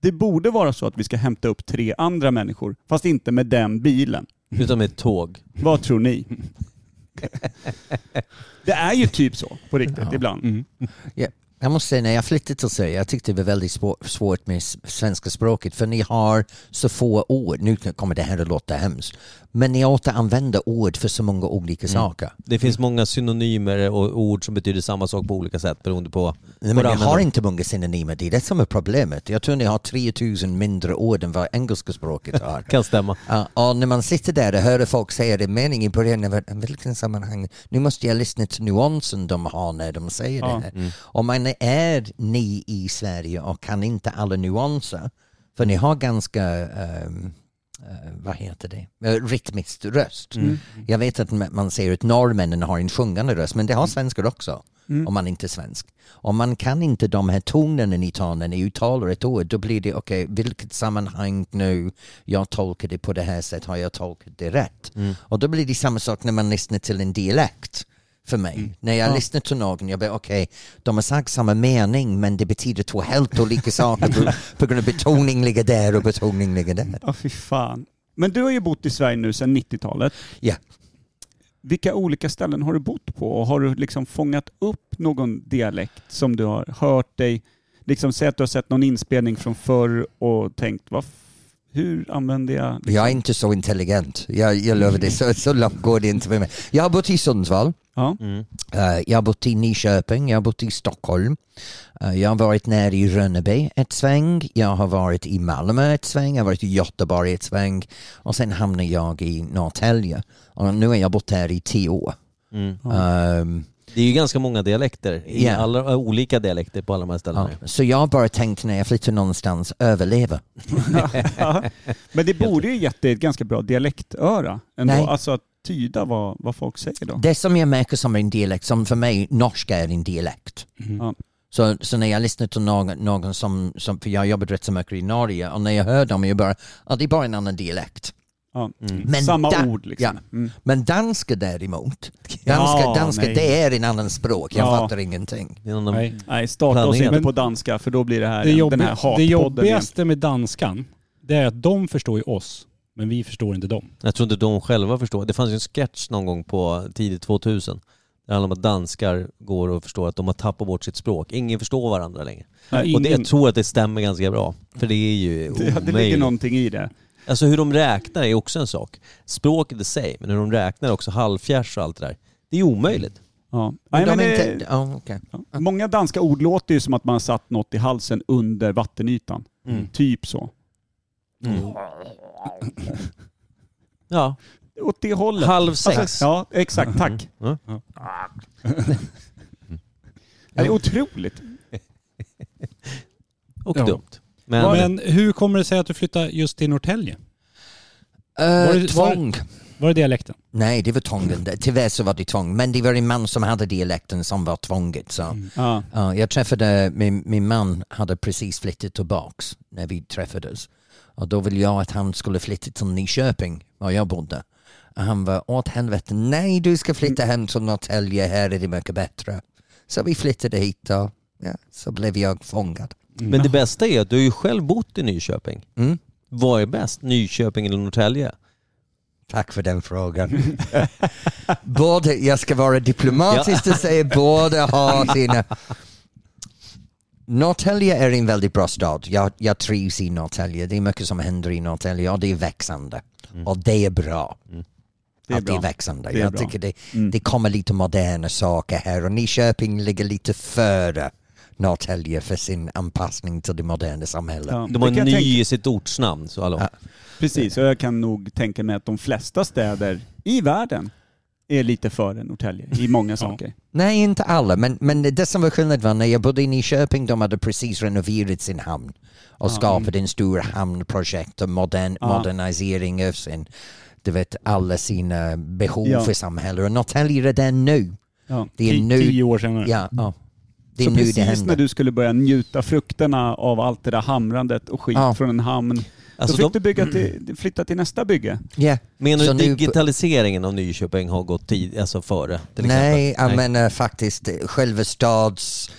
S2: det borde vara så att vi ska hämta upp tre andra människor, fast inte med den bilen.
S3: Utan med ett tåg.
S2: Vad tror ni? Det är ju typ så på riktigt ibland.
S1: Mm.
S8: Ja, Jag måste säga, när jag flyttade till Sverige, jag tyckte det var väldigt svå- svårt med s- svenska språket för ni har så få ord. Nu kommer det här att låta hemskt. Men ni återanvänder ord för så många olika
S3: Mm.
S8: saker.
S3: Det finns många synonymer och ord som betyder samma sak på olika sätt beroende på
S8: Nej,
S3: vad
S8: men
S3: du
S8: ni
S3: använder.
S8: har inte många synonymer, det är det som är problemet. Jag tror ni har 3000 mindre ord än vad engelska språket har.
S3: Kan stämma.
S8: Ja, och när man sitter där och hör folk säga det mening i början, jag vet, vilken sammanhang, nu måste jag lyssna till nuansen de har när de säger det här. Om man är ny i Sverige och kan inte alla nuanser, för ni har ganska, ehm, eh, vad heter det, uh, rytmiskt röst.
S2: Mm.
S8: Jag vet att ma- man säger att norrmännen har en sjungande röst, men det har svenskar också.
S2: Mm.
S8: Om man inte är svensk. Om man kan inte de här tonerna ni tar när ni uttalar ett ord, då blir det okej, vilket sammanhang nu, jag tolkar det på det här sättet, har jag tolkat det rätt? Och då blir det samma sak när man lyssnar till en dialekt för mig. När jag lyssnar till någon, jag bara okej, de har sagt samma mening men det betyder två helt olika saker på, på grund av betoning ligger där och betoning ligger där.
S2: Ja, fy fan. Men du har ju bott i Sverige nu sedan 90-talet.
S8: Ja.
S2: Vilka olika ställen har du bott på? Och har du liksom fångat upp någon dialekt som du har hört dig... Liksom säg att du har sett någon inspelning från förr och tänkt, vad f- hur använder jag... Liksom?
S8: Jag är inte så intelligent, jag, jag lovar det, så, så långt går det inte med mig. Jag har bott i Sundsvall,
S2: Ja.
S3: Mm,
S8: Eh, jag har bott i Nyköping, jag har bott i Stockholm. Eh, jag har varit nere i Rönneby ett sväng, jag har varit i Malmö ett sväng, jag har varit i Göteborg ett sväng och sen hamnade jag i Norrtälje. Och nu har jag bott här i tio år.
S3: Mm.
S8: Ehm,
S3: Det är ju ganska många dialekter. i
S8: Ja.
S3: Alla, äh, olika dialekter på alla de här ställena.
S8: ja. Så jag har bara tänkt när jag flyttar någonstans, överleva.
S2: Men det borde ju gett dig ett ganska bra dialektöra ändå.
S8: Nej.
S2: Alltså att tyda vad, vad folk säger då.
S8: Det som jag märker som en dialekt, som för mig, norska är en dialekt.
S1: Mm.
S2: Ja.
S8: Så, så när jag lyssnar till någon, någon som, som, för jag har jobbat rätt så mycket i Norge, och när jag hör dem, jag bara, ja det är bara en annan dialekt.
S2: Ja.
S3: Mm.
S8: Men
S2: Samma
S8: da-
S2: ord liksom.
S8: Ja.
S2: Mm.
S8: Men danska däremot,
S2: Ja,
S8: danska, danska
S2: nej.
S8: det är en annan språk, jag
S2: Ja.
S8: fattar ingenting.
S3: Det är någon-
S1: Nej.
S2: Nej, starta oss
S3: Planeten.
S2: inte på danska för då blir det här,
S1: Det, jobbi-
S2: den här
S1: det
S2: hatpodden igen.
S1: jobbigaste med danskan, det är att de förstår ju oss, men vi förstår inte dem.
S3: Jag tror inte de själva förstår. Det fanns ju en sketch någon gång på tidigt 2000. Det handlar om att danskar går och förstår att de har tappat bort sitt språk. Ingen förstår varandra längre.
S1: Nej,
S3: Och det, jag
S1: ingen-
S3: tror att det stämmer ganska bra. För det är ju
S2: Det, det ligger
S3: omöjligt.
S2: någonting i det.
S3: Alltså hur de räknar är också en sak. Språket i sig, men hur de räknar också, halvfjärs och allt det där. Det är omöjligt.
S2: Ja. Nej,
S8: Men
S2: men
S8: de
S2: det-
S8: är inte, ja, okej.
S2: Ja. Många danska ord låter ju som att man har satt något i halsen under vattenytan. Typ så.
S3: Ja,
S2: Åt det hållet.
S3: halv sex.
S2: Alltså, ja, exakt. Tack.
S3: Mm.
S2: Det är otroligt.
S3: Och
S1: Ja.
S3: dumt. Men,
S1: Men hur kommer det sig att du flyttade just till Norrtälje?
S8: Eh,
S1: det-
S8: tvång.
S1: Var det dialekten?
S8: Nej, det var tvången. Tyvärr så var det tvång. Men det var en man som hade dialekten som var tvånget. Så.
S2: Ja.
S8: Ja, jag träffade, min, min man hade precis flyttat tillbaks när vi träffades. Och då ville jag att han skulle flytta till Nyköping, var jag bodde. Och han var, åt helvete, nej du ska flytta hem till Norrtälje, här är det mycket bättre. Så vi flyttade hit och ja, så blev jag fångad.
S3: men det bästa är att du har ju själv bott i Nyköping.
S8: Mm.
S3: Vad är bäst, Nyköping eller Norrtälje?
S8: Tack för den frågan. både, jag ska vara diplomatisk och säga både har sina... Norrtälje är en väldigt bra stad. Jag, jag trivs i Norrtälje. Det är mycket som händer i Norrtälje och det är växande. Och det är bra.
S2: Mm. Det är
S8: att det är
S2: bra. Mm.
S8: växande.
S2: Det är
S8: jag
S2: bra.
S8: tycker det, det kommer lite moderna saker här och Nyköping ligger lite före Norrtälje för sin anpassning till det moderna samhället.
S2: Ja.
S3: De har
S2: Det kan
S3: en ny
S2: jag tänka-
S3: i sitt ortsnamn, så hallå.
S2: Precis, och jag kan nog tänka mig att de flesta städer i världen är lite före Norrtälje i många saker.
S8: Nej, inte alla, men, men det som var skillnad var när jag bodde i Nyköping, de hade precis renoverat sin hamn och skapat en stor hamnprojekt och modern, modernisering av sin, du vet, alla sina behov
S2: Ja.
S8: för samhället. Och Norrtälje är det där nu.
S2: Ja.
S8: Det är
S1: Ti-
S8: nu.
S1: Tio år senare.
S8: Ja, ja. Det är
S2: så
S8: nu
S2: precis
S8: det händer.
S2: när du skulle börja njuta frukterna av allt det där hamrandet och skit
S8: Ja. Mm.
S2: från en hamn,
S3: Alltså
S2: då fick
S3: de-
S2: du bygga till, flytta till nästa bygge.
S8: Ja.
S3: Menar
S8: Så
S3: du
S8: nu-
S3: digitaliseringen av Nyköping har gått tid, alltså före? Till
S8: Nej,
S3: exempel?
S8: jag menar faktiskt eh, själva stads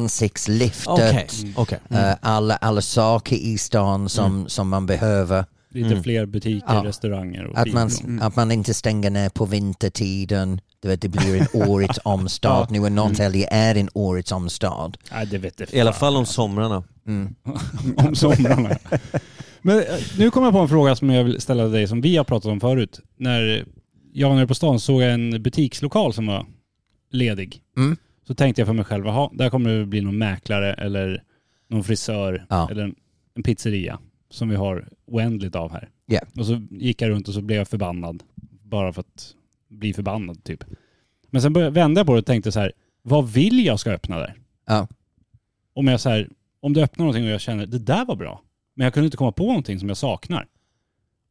S8: ansiktslyftet,
S3: Okej, okej.
S8: eh, alla, alla saker i stan som, som man behöver.
S1: Lite fler butiker,
S8: Ja.
S1: restauranger och
S8: Att man,
S1: biodrom.
S8: att man inte stänger ner på vintertiden. Du vet, det blir en årets omstad. Nu är Norrtälje är en årets omstad.
S1: Nej, det vet jag
S3: I alla fall om somrarna.
S1: om somrarna. Men eh, nu kommer jag på en fråga som jag vill ställa till dig som vi har pratat om förut. När jag var nere på stan såg jag en butikslokal som var ledig.
S8: Mm.
S1: Så tänkte jag för mig själv, jaha, där kommer det bli någon mäklare eller någon frisör
S8: Ja.
S1: eller en, en pizzeria som vi har oändligt av här.
S8: Ja.
S1: Och så gick jag runt och så blev jag förbannad. Bara för att bli förbannad typ. Men sen började, vände jag på det och tänkte så här, vad vill jag ska öppna där?
S8: Ja.
S1: om jag så här, om du öppnar någonting och jag känner det där var bra, men jag kunde inte komma på någonting som jag saknar.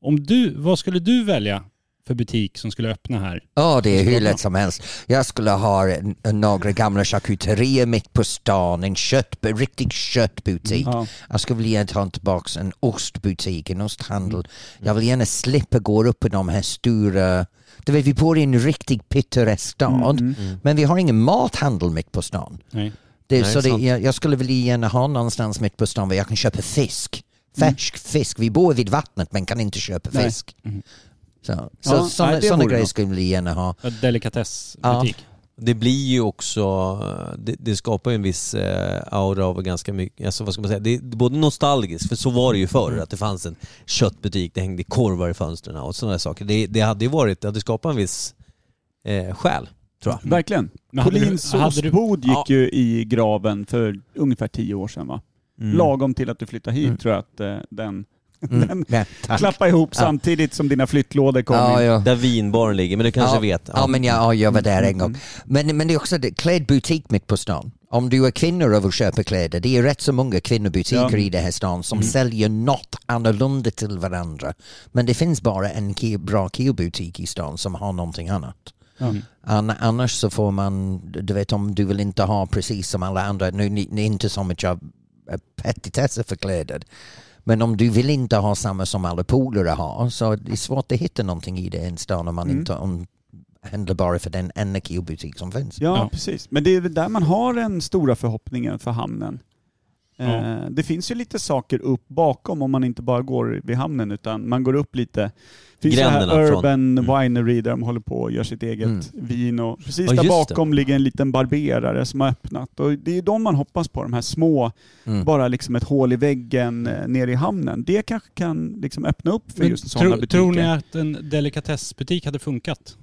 S1: Om du, vad skulle du välja för butik som skulle öppna här?
S8: Ja, det är hur lätt som helst. Jag skulle ha en, en, några gamla charkuterier mitt på stan, en kött, en riktig köttbutik.
S2: Ja.
S8: Jag skulle vilja ta tillbaka en ostbutik, en osthandel. Jag vill gärna slippa gå upp i de här stora... Du vet, vi bor i en riktigt pittoresk stad, men vi har ingen mathandel mitt på stan.
S1: Nej.
S8: Det,
S3: Nej,
S8: så det,
S3: sant.
S8: jag, jag skulle vilja gärna ha någonstans mitt på stan där jag kan köpa fisk. Färsk fisk. Vi bor vid vattnet men kan inte köpa
S2: Mm. Nej. Mm.
S8: fisk. Så, så,
S2: Ja,
S8: såna,
S2: nej, det
S8: såna
S2: vore
S8: grejer
S2: något.
S8: skulle vi gärna ha.
S1: En Delikatessbutik.
S3: Det blir ju också, det, det skapar ju en viss eh, aura av ganska mycket, alltså vad ska man säga, det är både nostalgiskt, för så var det ju förr, att det fanns en köttbutik, det hängde korvar i fönstren och sådana där saker. Det, det hade ju varit, det hade skapat en viss eh, själ, tror jag.
S2: Verkligen.
S1: Men hade
S2: Collins
S1: du- hade du-
S2: ostbod gick
S3: Ja.
S2: ju i graven för ungefär tio år sedan va?
S8: Mm.
S2: Lagom till att du flyttade hit tror jag att eh, den, den
S8: Ja, tack.
S2: klappade ihop samtidigt som dina flyttlådor kom Mm.
S8: Ja,
S2: in.
S8: ja.
S3: Där vinbaren ligger, men du kanske
S8: ja,
S3: vet?
S8: Ja, men jag, ja, jag var där
S2: Mm.
S8: en gång. Men, men det är också det, klädbutik mitt på stan. Om du är kvinnor och vill köpa kläder, det är rätt så många kvinnobutiker
S2: Ja. Mm.
S8: i den här stan som säljer något annorlunda till varandra. Men det finns bara en ki- bra killbutik i stan som har någonting annat.
S2: Mm.
S8: Ann- Annars så får man, du vet om du vill inte ha precis som alla andra, nu ni, ni är inte som att jag är petitesser för kläder. Men om du vill inte ha samma som alla polare har så det är svårt att hitta någonting i den stan om man inte om, handlar bara för den enda killbutik som finns.
S2: Ja,
S1: Ja.
S2: precis. Men det är väl där man har den stora förhoppningen för hamnen. Eh, det finns ju lite saker upp bakom om man inte bara går vid hamnen utan man går upp lite. Det finns det
S3: Gränderna
S2: här
S3: från-
S2: Urban Winery där de håller på och gör sitt eget
S8: Mm.
S2: vin. Och precis
S3: Ja,
S2: där
S3: just det.
S2: bakom ligger en liten barberare som har öppnat. Och det är ju de man hoppas på, de här små,
S8: Mm.
S2: bara liksom ett hål i väggen eh, nere i hamnen. Det kanske kan liksom öppna upp för
S1: Men
S2: just sådana
S1: tro,
S2: butiker.
S1: tror ni att en delikatessbutik hade funkat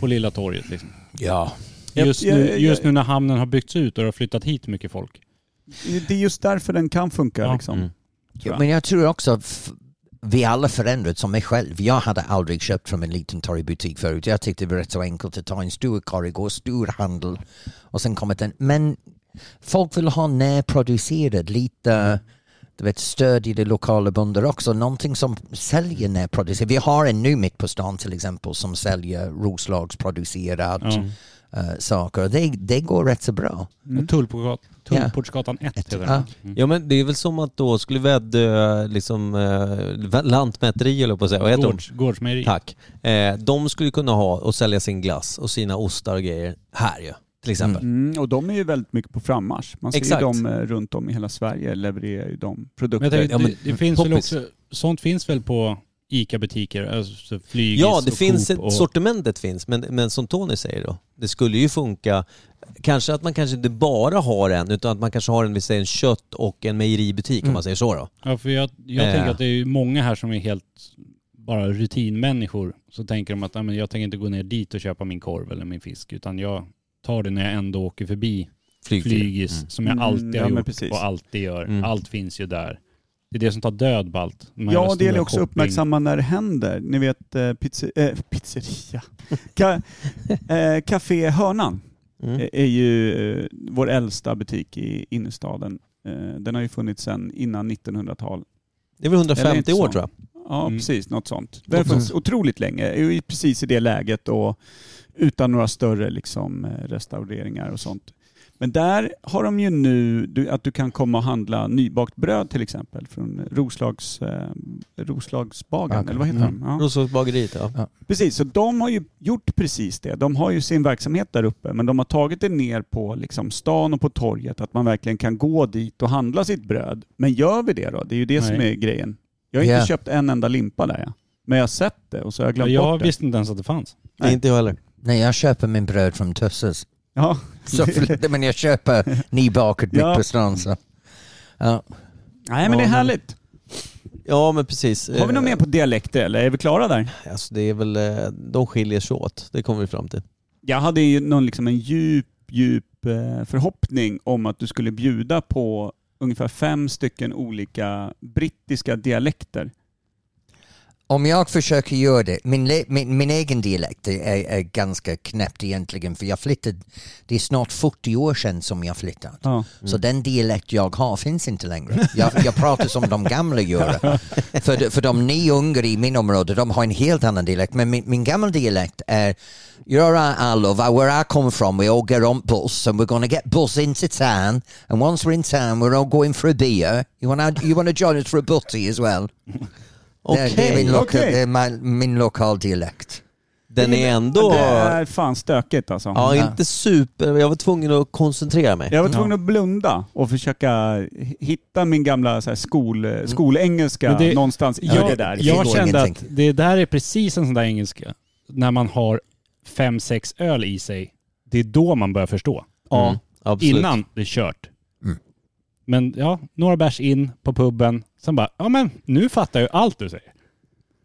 S1: på Lilla torget? Liksom?
S8: Ja.
S2: Jag-
S1: Just,
S2: jag-
S1: nu,
S2: jag-
S1: just nu när hamnen har byggts ut och det har flyttat hit mycket folk.
S2: Det är just därför den kan funka.
S1: Ja.
S2: Liksom.
S3: Mm.
S2: tror jag.
S8: Men jag tror också att f- vi alla förändrats som mig själv. Jag hade aldrig köpt från en liten torgbutik förut. Jag tyckte det var rätt så enkelt att ta en stor korridor, stor handel och sen kommit en... Men folk vill ha närproducerat, lite du vet, stöd i det lokala bönder också. Någonting som säljer närproducerat. Vi har en nu mitt på stan till exempel som säljer Roslagsproducerat
S1: Ja.
S2: Mm.
S8: eh, saker och det, det går rätt så bra.
S1: Och Tullportsgat- Tullportsgatan 1 heter den. Mm.
S8: Ja.
S3: Ja men det är väl som att då skulle Väddö, liksom, eh, lantmäteri höll jag på att säga, vad heter de?
S1: Gårds, Gårdsmejeri.
S3: Tack. Eh, de skulle kunna ha och sälja sin glass och sina ostar och grejer här ju, till exempel.
S2: Mm, och de är ju väldigt mycket på frammarsch. Man ser
S3: Exakt.
S2: ju dem eh, runt om i hela Sverige levererar ju de
S1: Men
S2: produkter.
S1: jag tänkte,
S3: Ja, men
S1: det, det finns väl
S3: poppis.
S1: också, sånt finns väl på ICA-butiker? Alltså Flygis
S3: Ja, det
S1: och
S3: finns
S1: Coop
S3: ett,
S1: och...
S3: sortimentet finns, men, men som Tony säger då, det skulle ju funka, kanske att man kanske inte bara har en, utan att man kanske har en, vi säger en kött och en mejeributik
S1: Mm.
S3: om man säger så då.
S1: Ja, för jag, jag
S3: Eh.
S1: tänker att det är ju många här som är helt bara rutinmänniskor. Så tänker de att "Ja, men jag tänker inte gå ner dit och köpa min korv eller min fisk, utan jag tar det när jag ändå åker förbi
S3: Flygfyr.
S1: flygis som jag
S2: Mm,
S1: alltid
S2: ja,
S1: har
S2: men
S1: gjort
S2: precis.
S1: och alltid gör.
S3: Mm.
S1: Allt finns ju där. Det är det som tar död på allt. De här
S2: Ja, det
S1: stora
S2: gäller också att
S1: shopping-
S2: uppmärksamma när det händer. Ni vet eh, pizze, eh, pizzeria. Ka, eh, Café Hörnan
S3: Mm.
S2: eh, är ju eh, vår äldsta butik i innerstaden. Eh, den har ju funnits sedan innan 1900-tal.
S3: Det är väl
S2: Eller
S3: 150
S2: inte
S3: år
S2: så.
S3: tror jag.
S2: Ja,
S1: Mm.
S2: precis. Något sånt. Den har funnits otroligt länge. Är ju precis i det läget och utan några större liksom, eh, restaureringar och sånt. Men där har de ju nu du, att du kan komma och handla nybakt bröd till exempel från Roslags, eh, Roslagsbagaren,
S9: Bagaren.
S2: eller vad heter
S9: Mm.
S2: de? Ja.
S3: Roslagsbageriet ja.
S2: Precis, så de har ju gjort precis det. De har ju sin verksamhet där uppe, men de har tagit det ner på liksom stan och på torget, att man verkligen kan gå dit och handla sitt bröd. Men gör vi det då? Det är ju det
S1: Nej.
S2: som är grejen. Jag har inte
S8: Ja.
S2: köpt en enda limpa där, ja. men jag har sett det och så har jag glömt
S1: Jag
S2: bort det.
S1: visste inte ens att det fanns.
S3: Nej. Inte jag heller.
S8: Nej, jag köper min bröd från Tusses.
S2: Ja.
S8: Så, förlåt, men jag köper nybakat
S2: Ja.
S8: mitt på stan. Så. Ja.
S2: Nej, men det är
S3: Ja, men-
S2: härligt.
S3: Ja men precis.
S2: Har vi något mer på dialekter eller är vi klara där?
S3: Alltså det är väl, eh, de skiljer sig åt. Det kommer vi fram till.
S2: Jag hade ju någon, liksom en djup, djup eh, förhoppning om att du skulle bjuda på ungefär fem stycken olika brittiska dialekter.
S8: Om jag försöker göra det, min, le- min, min egen dialekt är, är ganska knäppt egentligen för jag flyttade, det är snart 40 år sedan som jag flyttade.
S2: Ja.
S8: Så den dialekt jag har finns inte längre. Jag, jag pratar som de gamla gör. För, de- för de nyungar i min område, de har en helt annan dialekt. Men min, min gamla dialekt är, you're all over, where I come from, we all get on bus and we're gonna get bus into town. And once we're in town we're all going for a beer. You wanna, you wanna join us for a butty as well?
S3: Okej.
S8: Det, det är min, loka,
S2: okej.
S8: det är min, min lokal dialekt.
S3: Den är ändå...
S2: Det är fan stökigt alltså.
S3: Ja, inte super. Jag var tvungen att koncentrera mig.
S2: Jag var tvungen att blunda och försöka hitta min gamla så här,
S8: Mm.
S2: skol, skolengelska
S1: Men det-
S2: någonstans i
S1: Jag,
S2: det där.
S8: det
S1: jag
S8: går
S1: kände att
S8: ingenting.
S1: det där är precis en sån där engelska. När man har fem, sex öl i sig, det är då man börjar förstå.
S3: Ja, Mm. absolut.
S1: Innan det är kört.
S8: Mm.
S1: Men ja, några bärs in på puben. Sen bara, ja men nu fattar jag ju allt du säger.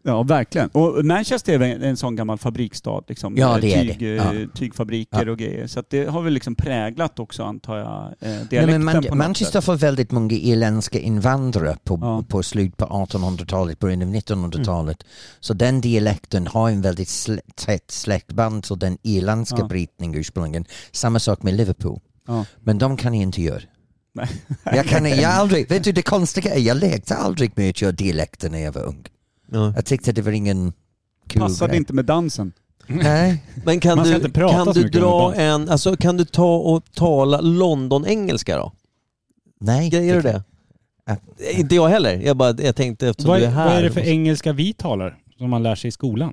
S2: Ja, verkligen. Och Manchester är väl en sån gammal fabriksstad. Liksom,
S8: Ja,
S2: med
S8: det är det.
S2: tyg, eh, Tygfabriker och grejer. Så att det har väl liksom präglat också, antar jag, eh,
S8: Nej,
S2: dialekten
S8: men man,
S2: på något
S8: Manchester
S2: sätt.
S8: får väldigt många irländska invandrare på,
S2: Ja. Mm.
S8: på slut på 1800-talet, början av 1900-talet. Så den dialekten har en väldigt slä, tätt släktband till den irländska
S2: Ja.
S8: brytningen ursprungligen. Samma sak med Liverpool.
S2: Ja.
S8: Men de kan jag inte göra.
S2: Nej.
S8: Jag kan jag aldrig, vet du det konstiga är, jag lekte aldrig med att göra dialekter när jag var ung.
S3: Ja.
S8: Jag tyckte det var ingen kul
S2: Passade
S8: grej.
S2: inte med dansen.
S8: Nej.
S3: Men kan
S1: Man ska
S3: du,
S1: inte prata
S3: kan
S1: så
S3: du
S1: mycket
S3: dra
S1: under
S3: en... Alltså kan du ta och tala London-engelska då?
S8: Nej.
S3: Grejer du det? Eh, Inte jag heller. Jag, bara, jag tänkte eftersom
S1: Vad,
S3: du är här.
S1: vad är det för engelska vi talar som man lär sig i skolan?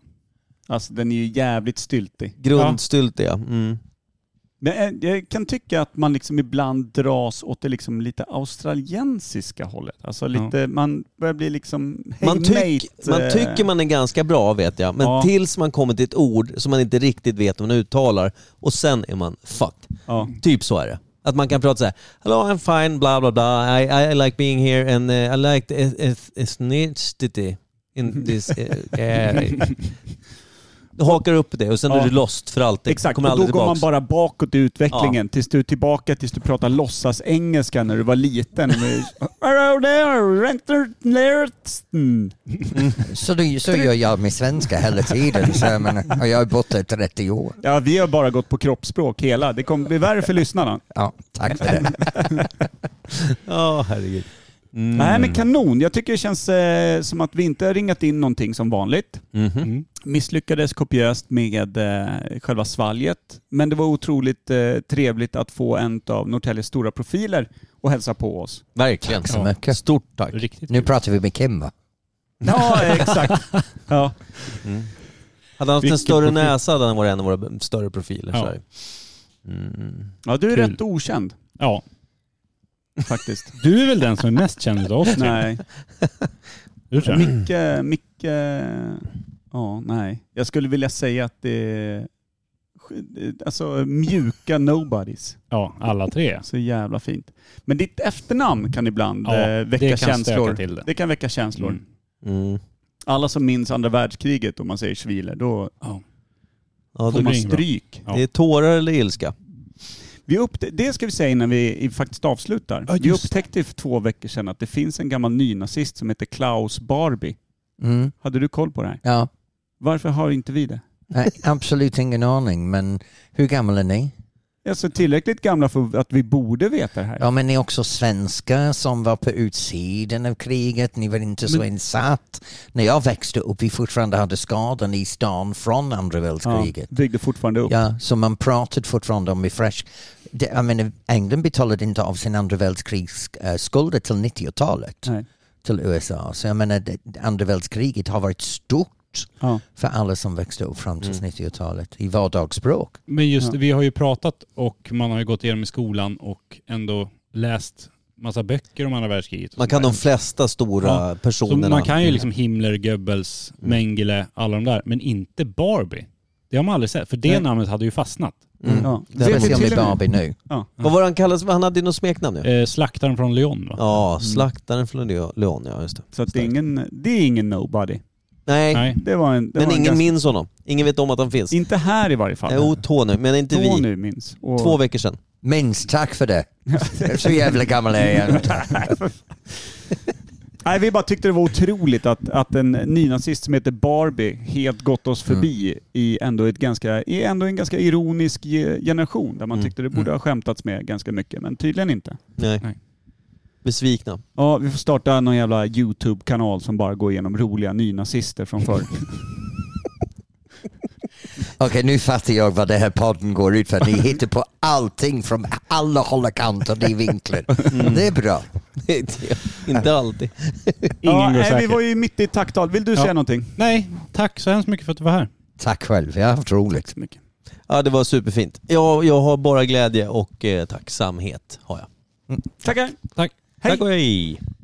S2: Alltså den är ju jävligt styltig.
S3: Grundstylt ja. Mm.
S2: Men eh, jag kan tycka att man liksom ibland dras åt det liksom lite australiensiska hållet. Alltså lite, man börjar bli liksom... Hey
S3: Man, tyck,
S2: mate,
S3: man
S2: eh,
S3: tycker man är ganska bra vet jag, men
S2: Ja.
S3: tills man kommer till ett ord som man inte riktigt vet hur man uttalar och sen är man fucked.
S2: Ja.
S3: Typ så är det. Att man kan prata så här: hello I'm fine, bla bla bla, I, I like being here and eh, I like the eth- eth- ethnicity in this eh, area." Du hakar upp det och sen
S2: Ja.
S3: är du lost för alltid.
S2: Exakt, och
S3: Kommer
S2: då
S3: aldrig
S2: går man
S3: tillbaks.
S2: bara bakåt i utvecklingen tills du är tillbaka tills du pratar låtsas engelska när du var liten. Hello there, Renter Lertsen.
S8: Så, det, så gör jag med svenska hela tiden. Så jag, menar, och jag har bott där i 30 år.
S2: Ja, vi har bara gått på kroppsspråk hela. Det kommer bli värre för lyssnarna.
S3: Mm.
S8: Ja, tack för det.
S3: Ja, herregud. Mm.
S2: Nej men kanon, jag tycker det känns eh, som att vi inte har ringat in någonting som vanligt.
S3: Mhm.
S1: Mm.
S2: Misslyckades kopiöst med eh, själva svalget. Men det var otroligt eh, trevligt att få en av Norrtäljes stora profiler och hälsa på oss.
S3: Verkligen.
S8: Så mycket.
S3: Stort tack.
S1: Riktigt
S8: Nu
S1: kul.
S8: pratar vi med Kim va?
S2: Ja, exakt. Ja.
S3: Mm. Hade han haft en
S2: Vilken
S3: större
S2: profil.
S3: näsa hade han varit en av våra större profiler.
S1: Ja.
S3: Så här. Mm.
S2: ja, du är
S1: Kul.
S2: rätt okänd
S1: Ja.
S2: faktiskt.
S1: Du är väl den som är mest känd utav oss?
S2: Nej.
S1: Du tror jag.
S2: Micke, Micke... Ja, nej. Jag skulle vilja säga att det är... Alltså mjuka nobodies.
S1: Ja, alla tre.
S2: Så jävla fint. Men ditt efternamn kan ibland
S1: Ja,
S2: eh, väcka
S1: det kan
S2: känslor.
S1: stöka till det.
S2: Det kan väcka känslor.
S1: Mm.
S3: Mm.
S2: Alla som minns andra världskriget, om man säger Schwiler, då
S3: Ja,
S2: får
S3: då,
S1: blir
S2: man
S1: det inget bra.
S2: stryk.
S1: Ja.
S3: Det är tårar eller ilska.
S2: Vi uppte- det ska vi säga innan vi i- faktiskt avslutar.
S1: Ja,
S2: vi
S1: just
S2: upptäckte för två veckor sedan att det finns en gammal nynazist som heter Klaus Barbie.
S8: Mm,
S2: Hade du koll på det här?
S8: ja.
S2: Varför har inte vi det?
S8: Nej, absolut ingen aning, men hur gamla är ni?
S2: Alltså tillräckligt gamla för att vi borde veta det här.
S8: Ja, men ni är också svenskar som var på utsidan av kriget. Ni var inte så insatt. När jag växte upp, vi fortfarande hade skadan i stan från andra världskriget.
S2: byggde fortfarande upp.
S8: Ja, så man pratade fortfarande om refresh. Det, jag menar, England betalade inte av sin andra världskrigsskulder till 90-talet
S2: Nej.
S8: till USA. Så jag menar, det, andra världskriget har varit stort
S2: Ja.
S8: för alla som växte upp fram
S2: Mm.
S8: till 90-talet i vardagsspråk.
S1: Men just
S2: Ja.
S1: det, vi har ju pratat och man har ju gått igenom i skolan och ändå läst massa böcker om andra världskriget. och
S3: Man
S1: sånt
S3: kan
S1: där.
S3: de flesta stora
S1: Ja, Så
S3: personerna.
S1: man
S2: Mm.
S1: kan ju liksom Himmler, Goebbels, Mengele, alla de där. Men inte Barbie. Det har man aldrig sett. För det
S2: Nej.
S1: namnet hade ju fastnat.
S3: Mm.
S2: Ja.
S8: Det
S2: Vet
S8: är
S2: ni
S8: som
S2: till
S8: med
S2: och med-
S8: Barbie nu.
S3: Vad var det han kallades? Han hade ju något smeknamn ja.
S1: Eh, slaktaren från Lyon va?
S2: mm.
S3: Ja, slaktaren från Leo- Leon, ja just det.
S2: Så att det, är ingen, det är ingen nobody.
S3: Nej,
S1: Nej.
S2: Det var en, det
S3: men
S2: var en
S3: ingen
S2: ganska,
S3: minns honom. Ingen vet om att han finns.
S2: Inte här i varje fall.
S3: Jo, Tony, men inte vi.
S2: Tony minns. Och,
S3: Två veckor sedan.
S8: Minst, tack för det. Jag är så jävla gammal jag är.
S2: Nej, vi bara tyckte det var otroligt att, att en nynazist som heter Barbie helt gått oss
S1: Mm.
S2: förbi i, ändå ett ganska, i ändå en ganska ironisk ge- generation där man
S3: Mm.
S2: tyckte det borde ha skämtats med ganska mycket, men tydligen inte.
S3: Nej.
S1: Nej.
S3: Besvikna.
S2: Ja, vi får starta någon jävla YouTube-kanal som bara går igenom roliga nynazister från förr.
S8: Okej, nu fattar jag vad det här podden går ut för. Ni hittar på allting från alla håll och kanter i vinklar.
S2: Mm.
S8: Det är bra.
S3: inte alltid.
S1: Ingen
S2: ja,
S1: går
S2: nej, vi
S1: säker.
S2: var ju mitt i ett tacktal. Vill du
S1: Ja.
S2: säga någonting?
S1: Nej, tack så hemskt mycket för att du var här.
S8: Tack själv, jag har haft roligt.
S2: mycket.
S3: Ja, det var superfint. Jag, jag har bara glädje och eh, tacksamhet. Har jag.
S2: Tackar.
S1: Tack.
S3: Tack och hej.